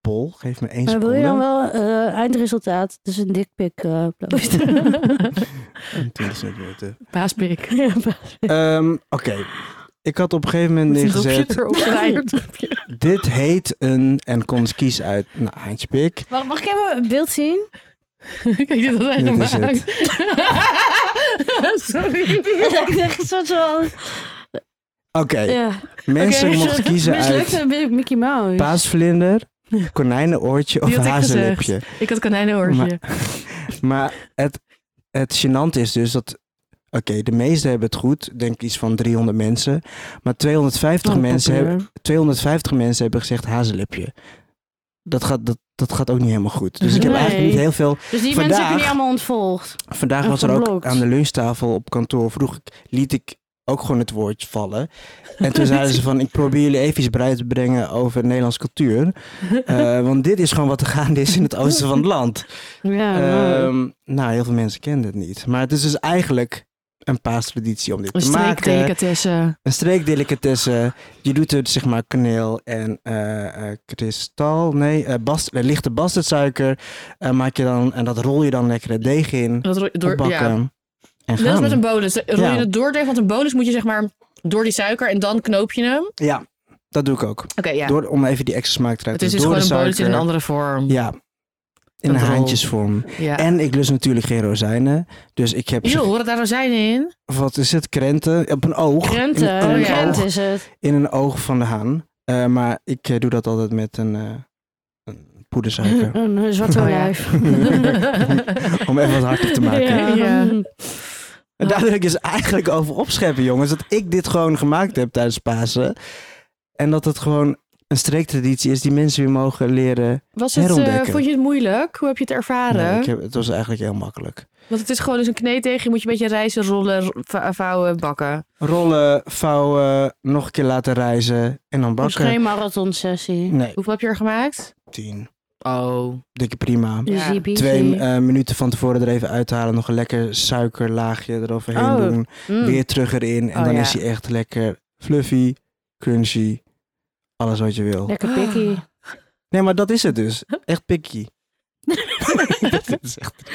[SPEAKER 2] poll. Geef me één
[SPEAKER 1] Maar wil
[SPEAKER 2] seconde.
[SPEAKER 1] je dan wel eh, eindresultaat? Dus een dikpik eh posten.
[SPEAKER 2] En 20 seconden.
[SPEAKER 3] Paaspik.
[SPEAKER 2] Ehm, Oké. Ik had op een gegeven moment
[SPEAKER 3] Met een dopje
[SPEAKER 2] neergezet.
[SPEAKER 3] erop. Ja.
[SPEAKER 2] Dit heet een. En kon eens kies uit. Nou, haantje pik.
[SPEAKER 1] Wacht, mag ik even een beeld zien?
[SPEAKER 3] Kijk, dit had hij
[SPEAKER 2] Dit is
[SPEAKER 3] gemaakt. Sorry.
[SPEAKER 1] ik dacht een soort van...
[SPEAKER 2] Oké.
[SPEAKER 1] Ja.
[SPEAKER 2] Mensen
[SPEAKER 1] Oké,
[SPEAKER 2] mochten kiezen uit
[SPEAKER 1] Mislukte Mickey Mouse.
[SPEAKER 2] paasvlinder, konijnenoortje of
[SPEAKER 3] had ik gezegd.
[SPEAKER 2] hazenlipje.
[SPEAKER 3] Ik had konijnenoortje.
[SPEAKER 2] Maar het, het gênant is dus dat... Oké, de meesten hebben het goed. Ik Denk iets van 300 mensen. Maar
[SPEAKER 1] Oh,
[SPEAKER 2] 250, mensen, hebben, 250 mensen hebben gezegd hazelipje. Dat gaat, dat, dat gaat ook niet helemaal goed. Dus ik heb
[SPEAKER 1] Nee.
[SPEAKER 2] eigenlijk niet heel veel...
[SPEAKER 1] Dus die mensen
[SPEAKER 2] Vandaag-
[SPEAKER 1] heb je niet allemaal ontvolgd.
[SPEAKER 2] Vandaag
[SPEAKER 1] En
[SPEAKER 2] was er ook
[SPEAKER 1] geblokt.
[SPEAKER 2] aan de lunchtafel op kantoor. Vroeg ik, liet ik ook gewoon het woord vallen. En toen zeiden ze van, ik probeer jullie even iets bij te brengen over Nederlandse cultuur. Eh, want dit is gewoon wat er gaande is in het oosten van het land.
[SPEAKER 3] Ah,
[SPEAKER 1] Ja, nou,
[SPEAKER 2] Ehm, nou, heel veel mensen kennen het niet. Maar het is dus eigenlijk een paastraditie om dit
[SPEAKER 3] Een
[SPEAKER 2] te maken.
[SPEAKER 3] streekdelicatessen.
[SPEAKER 2] Een streekdelicatesse. Je doet er zeg maar kaneel en eh, eh, kristal. Nee, eh, bast, eh, lichte bastardsuiker. eh, maak je dan, en dat rol je dan lekker het deeg in.
[SPEAKER 3] Dat ro- door,
[SPEAKER 2] Opbakken.
[SPEAKER 3] ja.
[SPEAKER 2] En
[SPEAKER 3] Net als
[SPEAKER 2] gaan.
[SPEAKER 3] met een bolus. Rol
[SPEAKER 2] Ja.
[SPEAKER 3] je het doordeeg, want een bolus moet je zeg maar door die suiker en dan knoop je hem. Oké,
[SPEAKER 2] Ja, dat doe ik ook.
[SPEAKER 3] ja.
[SPEAKER 2] Door, om even die extra smaak te
[SPEAKER 3] het
[SPEAKER 2] krijgen.
[SPEAKER 3] is dus
[SPEAKER 2] door
[SPEAKER 3] gewoon
[SPEAKER 2] de
[SPEAKER 3] een bolus in een
[SPEAKER 2] suiker.
[SPEAKER 3] andere vorm.
[SPEAKER 2] Ja, in
[SPEAKER 3] Dat
[SPEAKER 2] een
[SPEAKER 3] rol.
[SPEAKER 2] haantjesvorm.
[SPEAKER 3] Ja.
[SPEAKER 2] En ik lus natuurlijk geen rozijnen. Dus ik heb,
[SPEAKER 3] Joh, horen daar rozijnen in?
[SPEAKER 2] wat is het, krenten op een oog.
[SPEAKER 1] krenten.
[SPEAKER 2] In, in
[SPEAKER 1] Oh,
[SPEAKER 2] een
[SPEAKER 3] ja.
[SPEAKER 1] krent
[SPEAKER 2] oog,
[SPEAKER 1] is het.
[SPEAKER 2] in een oog van de haan. Eh, maar ik eh, doe dat altijd met een, eh, een poedersuiker.
[SPEAKER 1] Een zwarte
[SPEAKER 3] Oh, ja.
[SPEAKER 1] wijf.
[SPEAKER 2] Om even wat harder te maken.
[SPEAKER 1] Ja.
[SPEAKER 3] Ja.
[SPEAKER 2] En daar wil ik dus eigenlijk over opscheppen, jongens. Dat ik dit gewoon gemaakt heb tijdens Pasen. En dat het gewoon een streektraditie is die mensen weer mogen leren.
[SPEAKER 3] Was het, eh,
[SPEAKER 2] Herontdekken.
[SPEAKER 3] vond je het moeilijk? Hoe heb je het ervaren?
[SPEAKER 2] Nee, ik heb, het was eigenlijk heel makkelijk.
[SPEAKER 3] Want het is gewoon dus een kneedeegje. Moet je een beetje rijzen, rollen, ro- va- vouwen, bakken.
[SPEAKER 2] Rollen, vouwen, nog een keer laten reizen en dan
[SPEAKER 1] Dat is
[SPEAKER 2] bakken.
[SPEAKER 1] geen marathonsessie.
[SPEAKER 2] Nee,
[SPEAKER 3] Hoeveel heb je er gemaakt?
[SPEAKER 2] tien.
[SPEAKER 3] Oh.
[SPEAKER 2] Dikke prima.
[SPEAKER 1] Een
[SPEAKER 3] Ja.
[SPEAKER 1] ziebie.
[SPEAKER 2] Twee eh, minuten van tevoren er even uithalen. Nog een lekker suikerlaagje eroverheen
[SPEAKER 1] Oh.
[SPEAKER 2] doen.
[SPEAKER 1] Mm.
[SPEAKER 2] eh, Weer terug erin. En
[SPEAKER 3] Oh,
[SPEAKER 2] dan
[SPEAKER 3] ja.
[SPEAKER 2] is hij echt lekker fluffy, crunchy. Alles wat je wil.
[SPEAKER 1] Lekker pikkie.
[SPEAKER 2] Nee, maar dat is het dus. Echt picky. Dat is echt-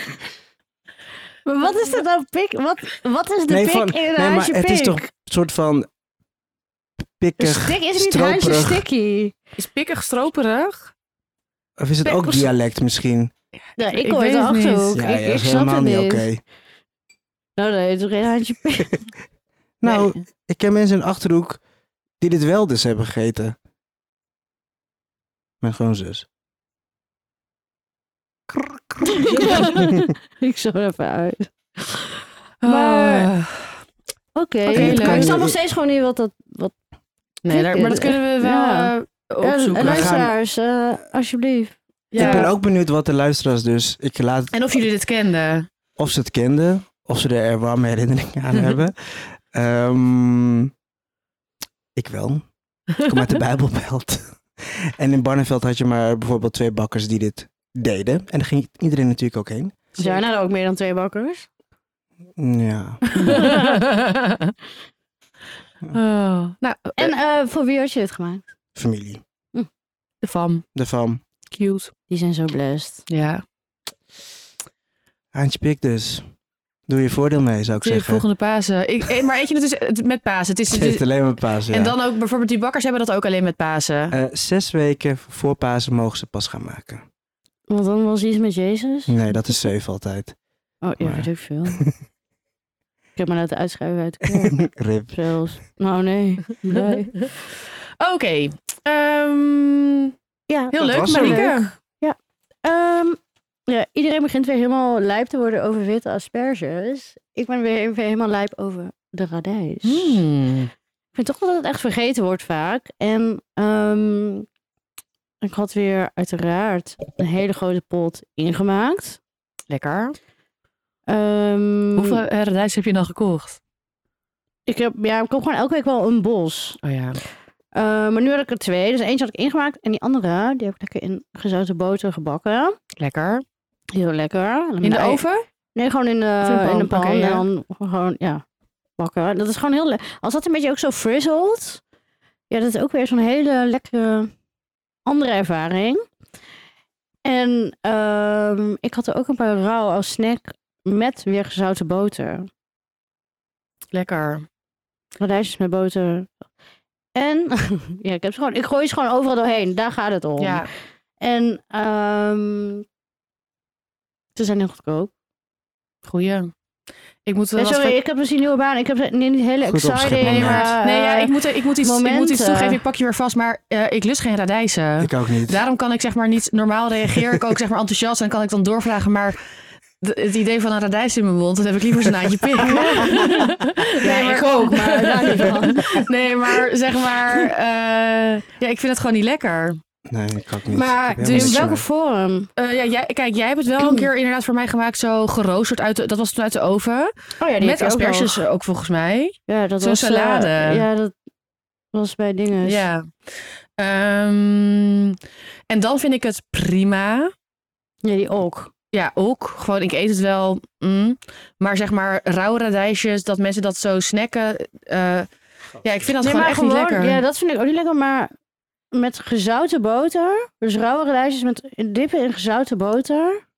[SPEAKER 1] Maar wat is dat nou pik? Wat, wat is de
[SPEAKER 2] Nee,
[SPEAKER 1] pik
[SPEAKER 2] van-
[SPEAKER 1] in een
[SPEAKER 2] nee, maar
[SPEAKER 1] huisje
[SPEAKER 2] het
[SPEAKER 1] pik?
[SPEAKER 2] is toch een soort van
[SPEAKER 1] Een
[SPEAKER 2] pikkig.
[SPEAKER 1] stik is niet huisje
[SPEAKER 2] stroperig.
[SPEAKER 1] sticky.
[SPEAKER 3] Is pikkig stroperig?
[SPEAKER 2] Of is het ook
[SPEAKER 3] Pikkels.
[SPEAKER 2] dialect misschien?
[SPEAKER 1] Ja, ik
[SPEAKER 3] Ik
[SPEAKER 1] hoor
[SPEAKER 3] weet
[SPEAKER 1] de
[SPEAKER 3] het niet.
[SPEAKER 1] achterhoek.
[SPEAKER 2] Ja,
[SPEAKER 1] ik
[SPEAKER 2] ja,
[SPEAKER 1] ik
[SPEAKER 2] is
[SPEAKER 1] snap
[SPEAKER 2] helemaal
[SPEAKER 1] het
[SPEAKER 2] niet
[SPEAKER 1] niet.
[SPEAKER 2] oké.
[SPEAKER 1] Nou, nee, het is geen handje pik.
[SPEAKER 2] Nou,
[SPEAKER 3] Nee.
[SPEAKER 2] ik ken mensen in de Achterhoek die dit wel dus hebben gegeten. Mijn schoonzus.
[SPEAKER 1] ik zo even uit. Maar-
[SPEAKER 3] Oh. Maar...
[SPEAKER 1] Oké,
[SPEAKER 3] Oké,
[SPEAKER 1] maar
[SPEAKER 3] leuk.
[SPEAKER 1] ik snap nog steeds gewoon niet wat dat... Wat...
[SPEAKER 3] nee, daar- maar dat kunnen we wel
[SPEAKER 1] Ja.
[SPEAKER 3] eh,
[SPEAKER 1] Ja,
[SPEAKER 3] opzoeken.
[SPEAKER 2] wij-
[SPEAKER 1] luisteraars, eh, alsjeblieft.
[SPEAKER 3] Ja.
[SPEAKER 2] Ik ben ook benieuwd wat de luisteraars dus... Ik laat
[SPEAKER 3] En of jullie dit kenden.
[SPEAKER 2] of ze het kenden, of ze er warme herinneringen aan hebben. Ehm, ik wel. Ik kom uit de Bijbelbelt. en in Barneveld had je maar bijvoorbeeld twee bakkers die dit deden. En daar ging iedereen natuurlijk ook heen.
[SPEAKER 1] Zijn er nou ook meer dan twee bakkers?
[SPEAKER 2] Ja.
[SPEAKER 3] oh. Nou,
[SPEAKER 1] En
[SPEAKER 3] en
[SPEAKER 1] eh, voor wie had je dit gemaakt?
[SPEAKER 2] Familie.
[SPEAKER 3] de fam.
[SPEAKER 2] De fam.
[SPEAKER 3] Cute.
[SPEAKER 1] Die zijn zo blessed.
[SPEAKER 3] Ja.
[SPEAKER 2] Haantje Pik dus. Doe je voordeel mee, zou ik
[SPEAKER 3] De
[SPEAKER 2] zeggen.
[SPEAKER 3] volgende Pasen. Ik, eh, maar eentje, het is het- met Pasen. Het is,
[SPEAKER 2] Het
[SPEAKER 3] het is-
[SPEAKER 2] heeft alleen maar paas, ja.
[SPEAKER 3] En dan ook bijvoorbeeld die bakkers hebben dat ook alleen met Pasen.
[SPEAKER 2] Eh, zes weken voor Pasen mogen ze pas gaan maken.
[SPEAKER 1] Want dan was iets met Jezus.
[SPEAKER 3] Hm.
[SPEAKER 2] Nee, dat is zeven altijd.
[SPEAKER 1] Oh, ja,
[SPEAKER 2] Maar-
[SPEAKER 1] weet ik veel. ik heb me laten uitschrijven uit de kerk
[SPEAKER 2] Rip.
[SPEAKER 1] zelfs. Nou, nee. nee.
[SPEAKER 3] Oké. Ehm,
[SPEAKER 1] Ja,
[SPEAKER 3] heel leuk,
[SPEAKER 2] was hem.
[SPEAKER 3] Marieke.
[SPEAKER 1] Ehm, ja, iedereen begint weer helemaal lijp te worden over witte asperges. Ik ben weer even helemaal lijp over de radijs.
[SPEAKER 3] Hmm.
[SPEAKER 1] Ik vind toch dat het echt vergeten wordt vaak. En ehm, ik had weer uiteraard een hele grote pot ingemaakt.
[SPEAKER 3] Lekker.
[SPEAKER 1] Ehm,
[SPEAKER 3] Hoeveel radijs heb je dan gekocht?
[SPEAKER 1] Ik, heb, ja, ik koop gewoon elke week wel een bos.
[SPEAKER 3] Oh ja.
[SPEAKER 1] Eh, maar nu had ik er twee. Dus eentje had ik ingemaakt. En die andere, die heb ik lekker in gezouten boter gebakken.
[SPEAKER 3] Lekker.
[SPEAKER 1] Heel lekker.
[SPEAKER 3] In de oven?
[SPEAKER 1] Nee, gewoon in de,
[SPEAKER 3] Of in een pan
[SPEAKER 1] in de pan.
[SPEAKER 3] pakken, ja.
[SPEAKER 1] En dan gewoon, ja, bakken. Dat is gewoon heel lekker. Als dat een beetje ook zo frizzelt. Ja, dat is ook weer zo'n hele lekkere andere ervaring. En ehm, ik had er ook een paar rauw als snack met weer gezouten boter.
[SPEAKER 3] Lekker.
[SPEAKER 1] Radijsjes met boter. En, ja, ik heb ze gewoon, ik gooi ze gewoon overal doorheen. Daar gaat het om.
[SPEAKER 3] Ja.
[SPEAKER 1] En ehm, ze zijn heel goedkoop.
[SPEAKER 3] Goeie. Ik moet wel
[SPEAKER 1] Ja,
[SPEAKER 3] wat
[SPEAKER 1] sorry,
[SPEAKER 3] ver-
[SPEAKER 1] ik heb misschien een nieuwe baan. Ik heb ze- nee, niet hele
[SPEAKER 2] Goed
[SPEAKER 1] exciting.
[SPEAKER 2] opschippen,
[SPEAKER 1] maar,
[SPEAKER 2] Mark.
[SPEAKER 3] Nee, ja,
[SPEAKER 1] eh,
[SPEAKER 3] ik moet, ik, moet iets, ik moet iets
[SPEAKER 1] momenten.
[SPEAKER 3] toegeven. Ik pak je weer vast, maar eh, ik lust geen radijzen.
[SPEAKER 2] Ik ook niet.
[SPEAKER 3] Daarom kan ik zeg maar niet normaal reageren. Ik ook zeg maar enthousiast en kan ik dan doorvragen. Maar d- het idee van een radijs in mijn mond, dan heb ik liever zo'n naadje pik. nee, maar,
[SPEAKER 1] ik ook, maar daar niet van.
[SPEAKER 3] Nee, maar zeg maar, eh, ja, ik vind het gewoon niet lekker.
[SPEAKER 2] Nee, dat kan ik niet.
[SPEAKER 3] Maar
[SPEAKER 2] Ik heb
[SPEAKER 3] dus
[SPEAKER 2] helemaal
[SPEAKER 1] In
[SPEAKER 2] niks
[SPEAKER 1] welke
[SPEAKER 2] van-
[SPEAKER 1] vorm?
[SPEAKER 3] Eh, ja, jij, kijk, jij hebt het wel een keer inderdaad voor mij gemaakt, zo geroosterd. Uit de- dat was toen uit de oven.
[SPEAKER 1] Oh ja,
[SPEAKER 3] met asperges ook, volgens mij.
[SPEAKER 1] Ja, dat
[SPEAKER 3] Zo'n
[SPEAKER 1] was eh,
[SPEAKER 3] salade.
[SPEAKER 1] ja, dat was bij dingen.
[SPEAKER 3] Ja. Ehm, en dan vind ik het prima.
[SPEAKER 1] Ja, die ook.
[SPEAKER 3] Ja, ook. Gewoon, ik eet het wel. mm. Maar zeg maar, rauwe radijsjes, dat mensen dat zo snacken. eh, ja, ik vind
[SPEAKER 1] Nee,
[SPEAKER 3] dat gewoon
[SPEAKER 1] maar
[SPEAKER 3] echt niet lekker.
[SPEAKER 1] Ja, dat vind ik ook niet lekker, maar met gezouten boter, dus rauwe radijsjes met dippen in gezouten boter.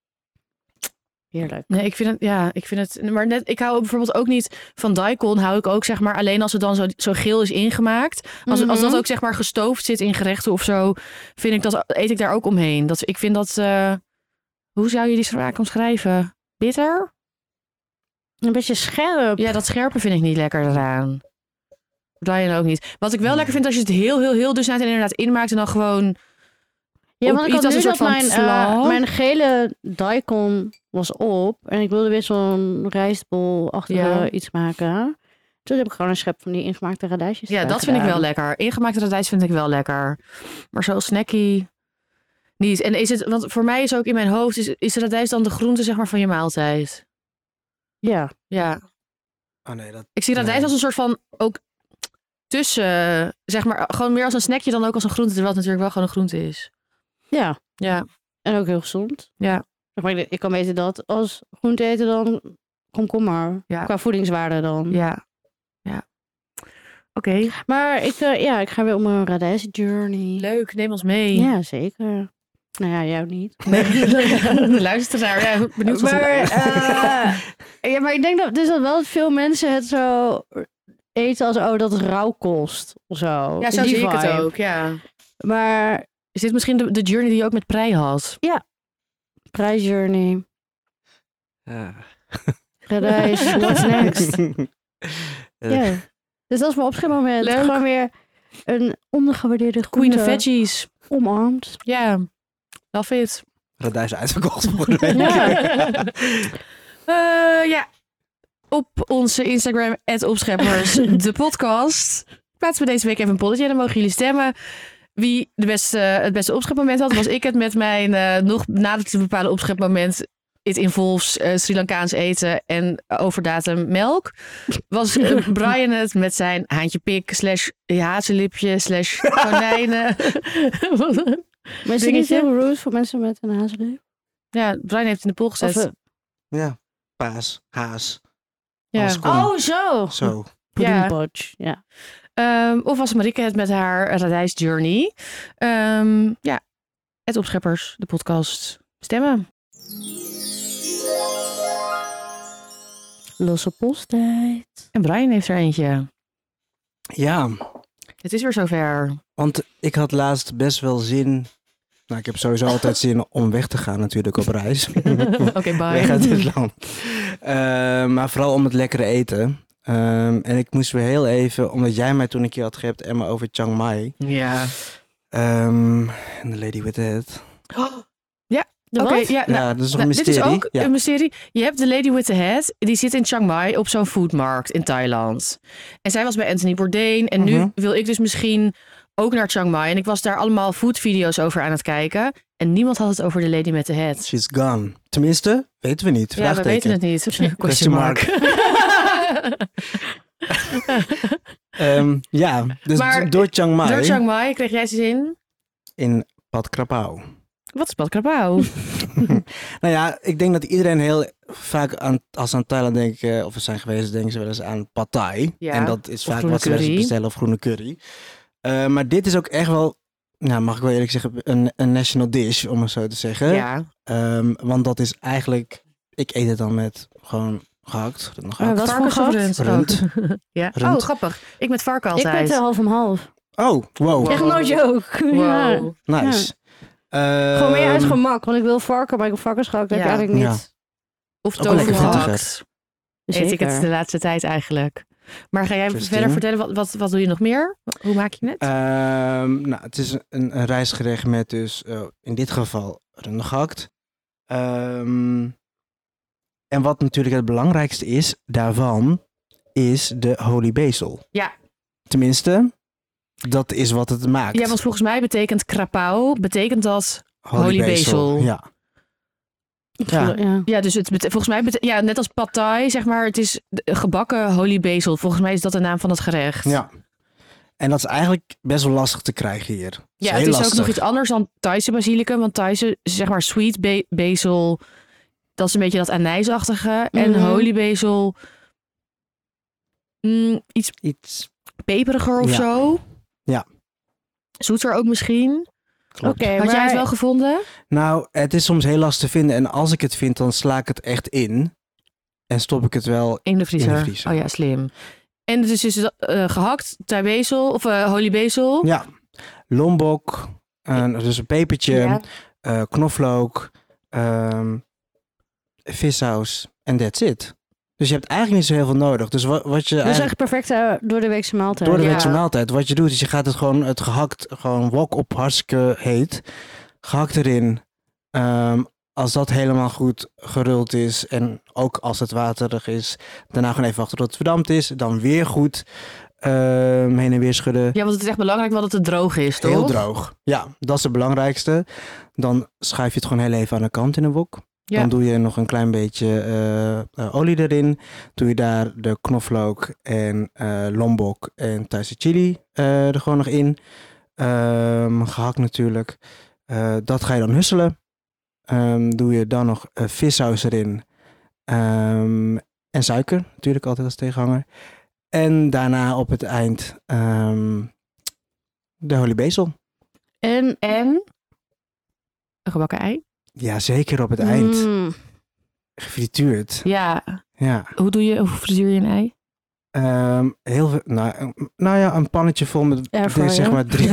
[SPEAKER 1] Heerlijk.
[SPEAKER 3] Nee, ik vind het, ja, ik vind het, maar net, ik hou bijvoorbeeld ook niet van daikon, hou ik ook zeg maar alleen als het dan zo, zo geel is ingemaakt. Als, als dat
[SPEAKER 1] Mhm.
[SPEAKER 3] ook zeg maar gestoofd zit in gerechten of zo, vind ik dat, eet ik daar ook omheen. Dat, ik vind dat, eh, hoe zou je die smaak omschrijven? Bitter?
[SPEAKER 1] Een beetje scherp.
[SPEAKER 3] Ja, dat scherpe vind ik niet lekker eraan. Brian ook niet. Wat ik wel lekker vind als je het heel, heel, heel dusnaat en inderdaad inmaakt en dan gewoon,
[SPEAKER 1] Ja,
[SPEAKER 3] op
[SPEAKER 1] want ik had
[SPEAKER 3] iets als
[SPEAKER 1] nu
[SPEAKER 3] een
[SPEAKER 1] dat
[SPEAKER 3] soort
[SPEAKER 1] mijn,
[SPEAKER 3] van
[SPEAKER 1] eh,
[SPEAKER 3] flan.
[SPEAKER 1] mijn gele daikon was op. En ik wilde weer zo'n rijstbol achter
[SPEAKER 3] Ja.
[SPEAKER 1] iets maken. Toen heb ik gewoon een schep van die ingemaakte radijsjes.
[SPEAKER 3] ja,
[SPEAKER 1] erbij
[SPEAKER 3] dat vind ik wel
[SPEAKER 1] gedaan.
[SPEAKER 3] lekker. Ingemaakte radijs vind ik wel lekker. Maar zo snacky niet. En is het, want voor mij is ook in mijn hoofd, is, is radijs dan de groente zeg maar van je maaltijd?
[SPEAKER 1] Ja.
[SPEAKER 3] Ja.
[SPEAKER 2] Oh nee, dat...
[SPEAKER 3] Ik zie radijs
[SPEAKER 2] Nee.
[SPEAKER 3] als een soort van ook tussen, zeg maar, gewoon meer als een snackje dan ook als een groente, terwijl het natuurlijk wel gewoon een groente is.
[SPEAKER 1] ja,
[SPEAKER 3] Ja.
[SPEAKER 1] en ook heel gezond.
[SPEAKER 3] Ja.
[SPEAKER 1] Zeg Maar ik, ik kan weten dat als groente eten dan komkommer.
[SPEAKER 3] Ja.
[SPEAKER 1] Qua voedingswaarde dan.
[SPEAKER 3] Ja. Ja. Oké.
[SPEAKER 1] Maar ik, eh, ja, ik ga weer op mijn radijsjourney.
[SPEAKER 3] Leuk, neem ons mee.
[SPEAKER 1] Ja, zeker. Nou ja, jou niet.
[SPEAKER 3] de luisteraar, ja, benieuwd wat
[SPEAKER 1] Maar, eh, ja, maar ik denk dat, dus dat wel veel mensen het zo eten als, oh, dat is rauw kost. Of zo.
[SPEAKER 3] Ja, zo
[SPEAKER 1] Die
[SPEAKER 3] zie ik het
[SPEAKER 1] vibe.
[SPEAKER 3] ook, ja.
[SPEAKER 1] Maar
[SPEAKER 3] Is dit misschien de, de journey die je ook met prei had?
[SPEAKER 1] prijsjourney,
[SPEAKER 2] Ja.
[SPEAKER 1] radijs, what's next?
[SPEAKER 2] Eh,
[SPEAKER 1] Ja. Dus dat is mijn opschrijfmoment.
[SPEAKER 3] Leuk.
[SPEAKER 1] Gewoon weer een ondergewaardeerde
[SPEAKER 3] Queen
[SPEAKER 1] groente
[SPEAKER 3] of veggies.
[SPEAKER 1] omarmd.
[SPEAKER 3] Ja, love it.
[SPEAKER 2] Radijs uitverkocht volgende week.
[SPEAKER 1] Ja.
[SPEAKER 3] Eh, ja. Op onze Instagram, opscheppers, de podcast. Plaatsen we deze week even een polletje en dan mogen jullie stemmen. Wie de beste, het beste opschepmoment had, was ik het met mijn eh, nog nader te bepalen opschepmoment. It involves eh, Sri Lankaans eten en overdatum melk. Was eh, Brian het met zijn haantje pik slash hazenlipje slash
[SPEAKER 1] Maar
[SPEAKER 3] konijnen.
[SPEAKER 1] is het niet
[SPEAKER 3] Dingetje.
[SPEAKER 1] heel rude voor mensen met een hazellip?
[SPEAKER 3] ja, Brian heeft in de poll gezet.
[SPEAKER 1] Of, eh,
[SPEAKER 2] Ja. Paas, haas,
[SPEAKER 3] ja.
[SPEAKER 2] alles kon.
[SPEAKER 1] Oh, zo!
[SPEAKER 2] Zo.
[SPEAKER 1] Puddingpotje, ja.
[SPEAKER 3] Ehm, of was Marike het met haar radijsjourney? Ehm, ja, het Opscheppers, de podcast. Stemmen.
[SPEAKER 1] Losse posttijd.
[SPEAKER 3] En Brian heeft er eentje.
[SPEAKER 2] Ja,
[SPEAKER 3] Het is weer zover.
[SPEAKER 2] want ik had laatst best wel zin... Nou, ik heb sowieso altijd zin om weg te gaan natuurlijk op reis.
[SPEAKER 3] Oké,
[SPEAKER 2] weg uit
[SPEAKER 3] bye.
[SPEAKER 2] dit land. Eh, maar vooral om het lekkere eten. Ehm, en ik moest weer heel even, omdat jij mij toen een keer had gehept, Emma, over Chiang Mai.
[SPEAKER 3] Ja.
[SPEAKER 2] Ehm, En The Lady with the Head.
[SPEAKER 1] De
[SPEAKER 3] Oké,
[SPEAKER 1] wat?
[SPEAKER 3] ja. nou,
[SPEAKER 2] ja, dat is nog
[SPEAKER 3] Oh, nou,
[SPEAKER 2] een
[SPEAKER 3] dit
[SPEAKER 2] mysterie.
[SPEAKER 3] is ook
[SPEAKER 2] ja.
[SPEAKER 3] een mysterie. Je hebt de Lady with the Hat. Die zit in Chiang Mai op zo'n foodmarkt in Thailand. En zij was bij Anthony Bourdain. En
[SPEAKER 2] Mhm.
[SPEAKER 3] nu wil ik dus misschien ook naar Chiang Mai. En ik was daar allemaal foodvideo's over aan het kijken. En niemand had het over de Lady met the Hat.
[SPEAKER 2] She's gone. Tenminste, weten we niet.
[SPEAKER 3] Ja, we
[SPEAKER 2] Vraagteken.
[SPEAKER 3] weten het niet.
[SPEAKER 2] Question mark. Ehm, ja, dus
[SPEAKER 3] Maar-
[SPEAKER 2] d- door Chiang Mai
[SPEAKER 3] Door Chiang Mai kreeg jij ze in.
[SPEAKER 2] in Pad Krapau.
[SPEAKER 3] Wat is padkrabau?
[SPEAKER 2] Nou ja, ik denk dat iedereen heel vaak aan, als ze aan Thailand denken, eh, of we zijn geweest, denken ze wel eens aan pad thai.
[SPEAKER 3] Ja,
[SPEAKER 2] en dat is vaak
[SPEAKER 3] groene
[SPEAKER 2] wat ze wel eens
[SPEAKER 3] curry.
[SPEAKER 2] bestellen, of groene curry. Eh, maar dit is ook echt wel, nou mag ik wel eerlijk zeggen, een, een national dish, om het zo te zeggen.
[SPEAKER 3] ja.
[SPEAKER 2] Ehm, want dat is eigenlijk, ik eet het dan met gewoon gehakt. Nog
[SPEAKER 1] Maar
[SPEAKER 2] gehakt.
[SPEAKER 1] wat voor
[SPEAKER 3] Varkens of
[SPEAKER 1] gat?
[SPEAKER 3] rund?
[SPEAKER 2] Rund.
[SPEAKER 3] Ja.
[SPEAKER 2] Rund.
[SPEAKER 3] Oh, grappig. Ik met varken
[SPEAKER 1] Ik
[SPEAKER 3] altijd.
[SPEAKER 1] ben er half om half.
[SPEAKER 2] Oh, wow,
[SPEAKER 1] Echt
[SPEAKER 3] Wow.
[SPEAKER 1] no joke.
[SPEAKER 3] Wow.
[SPEAKER 1] Ja.
[SPEAKER 2] nice. Ehm,
[SPEAKER 1] Gewoon meer uit gemak, want ik wil varken, maar ik varkensgehakt heb ik
[SPEAKER 3] Ja.
[SPEAKER 1] eigenlijk niet.
[SPEAKER 3] Of
[SPEAKER 2] Ook wel
[SPEAKER 3] tofu
[SPEAKER 2] lekker
[SPEAKER 3] gehakt. Eet ik
[SPEAKER 1] Zeker.
[SPEAKER 3] het de laatste tijd eigenlijk. Maar ga jij
[SPEAKER 2] Interesting.
[SPEAKER 3] verder vertellen, wat, wat, wat doe je nog meer? Hoe maak je het?
[SPEAKER 2] Ehm, nou, het is een, een rijstgerecht met dus eh, in dit geval rundgehakt. Ehm en wat natuurlijk het belangrijkste is daarvan, is de holy basil.
[SPEAKER 3] Ja.
[SPEAKER 2] Tenminste, Dat is wat het maakt.
[SPEAKER 3] Ja, want volgens mij betekent krapau, betekent dat... Holy basil.
[SPEAKER 2] Ja. Ja.
[SPEAKER 1] ja.
[SPEAKER 3] Ja, dus het bete- volgens mij, bete- ja, net als pad thai, zeg maar, het is de- gebakken holy basil. Volgens mij is dat de naam van het gerecht.
[SPEAKER 2] ja. En dat is eigenlijk best wel lastig te krijgen hier. Dat
[SPEAKER 3] Ja,
[SPEAKER 2] heel
[SPEAKER 3] het is
[SPEAKER 2] lastig.
[SPEAKER 3] ook nog iets anders dan Thaise basilicum. Want Thaise, zeg maar, sweet ba- basil, dat is een beetje dat anijsachtige.
[SPEAKER 1] Mhm.
[SPEAKER 3] En holy basil, mm, iets
[SPEAKER 2] Iets.
[SPEAKER 3] peperiger of
[SPEAKER 2] Ja.
[SPEAKER 3] zo.
[SPEAKER 2] Ja.
[SPEAKER 3] Zoeter ook misschien.
[SPEAKER 1] Oké,
[SPEAKER 2] Klopt.
[SPEAKER 3] Had
[SPEAKER 1] maar
[SPEAKER 3] jij het wel gevonden?
[SPEAKER 2] Nou, het is soms heel lastig te vinden. En als ik het vind, dan sla ik het echt in. En stop ik het wel.
[SPEAKER 3] In de vriezer.
[SPEAKER 2] vriezer.
[SPEAKER 3] Oh ja, slim. En het is dus eh, gehakt, Thai basil, of eh, holy basil.
[SPEAKER 2] Ja. Lombok. eh, dus een pepertje.
[SPEAKER 3] Ja.
[SPEAKER 2] eh, knoflook. ehm vissaus. En that's it. Dus je hebt eigenlijk niet zo heel veel nodig. Dus wat, wat je
[SPEAKER 1] Dus
[SPEAKER 2] eigenlijk
[SPEAKER 1] echt perfecte door de weekse maaltijd.
[SPEAKER 2] door de
[SPEAKER 3] ja.
[SPEAKER 2] weekse maaltijd, wat je doet, is je gaat het gewoon, het gehakt, gewoon wok op hartstikke heet. Gehakt erin. Ehm, als dat helemaal goed geruld is en ook als het waterig is, daarna gewoon even wachten tot het verdampt is. Dan weer goed ehm, heen en weer schudden.
[SPEAKER 3] Ja, want het is echt belangrijk wel dat het droog is, toch?
[SPEAKER 2] Heel droog. Ja, dat is het belangrijkste. Dan schuif je het gewoon heel even aan de kant in een wok.
[SPEAKER 3] Ja.
[SPEAKER 2] Dan doe je nog een klein beetje eh, eh, olie erin. Doe je daar de knoflook en eh, lombok en Thaise chili eh, er gewoon nog in. Ehm, gehakt natuurlijk. Eh, dat ga je dan husselen. Ehm, doe je dan nog eh, vissaus erin. Ehm, en suiker, natuurlijk altijd als tegenhanger. En daarna op het eind ehm, de holy basil.
[SPEAKER 1] En
[SPEAKER 3] En? Een gebakken ei.
[SPEAKER 2] Ja, zeker op het eind.
[SPEAKER 1] Mm,
[SPEAKER 2] Gefrituurd.
[SPEAKER 3] Ja,
[SPEAKER 2] Ja.
[SPEAKER 3] hoe doe je, hoe frituur je een ei?
[SPEAKER 2] Ehm, heel veel, nou, nou ja, een pannetje vol met
[SPEAKER 1] Airfryer.
[SPEAKER 2] zeg maar drie,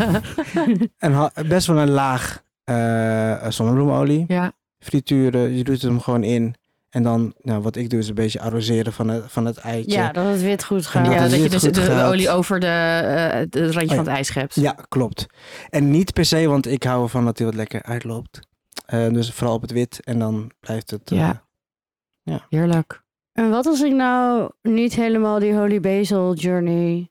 [SPEAKER 2] en ha- best wel een laag eh zonnebloemolie.
[SPEAKER 3] ja.
[SPEAKER 2] Frituren, je doet hem gewoon in. En dan, nou, wat ik doe is een beetje arroseren van het, van het eitje.
[SPEAKER 1] ja, dat het wit goed
[SPEAKER 2] En
[SPEAKER 1] gaat.
[SPEAKER 2] dat
[SPEAKER 3] ja,
[SPEAKER 2] het
[SPEAKER 3] dat je
[SPEAKER 2] niet
[SPEAKER 3] dus de,
[SPEAKER 2] goed
[SPEAKER 3] de
[SPEAKER 2] gaat. Oh
[SPEAKER 3] olie over de, eh, het randje
[SPEAKER 2] ja.
[SPEAKER 3] van het ei schept.
[SPEAKER 2] Ja, klopt. En niet per se, want ik hou ervan dat hij wat lekker uitloopt. Eh, dus vooral op het wit en dan blijft het... eh,
[SPEAKER 3] Ja. Heerlijk.
[SPEAKER 1] En wat als ik nou niet helemaal die Holy Basil journey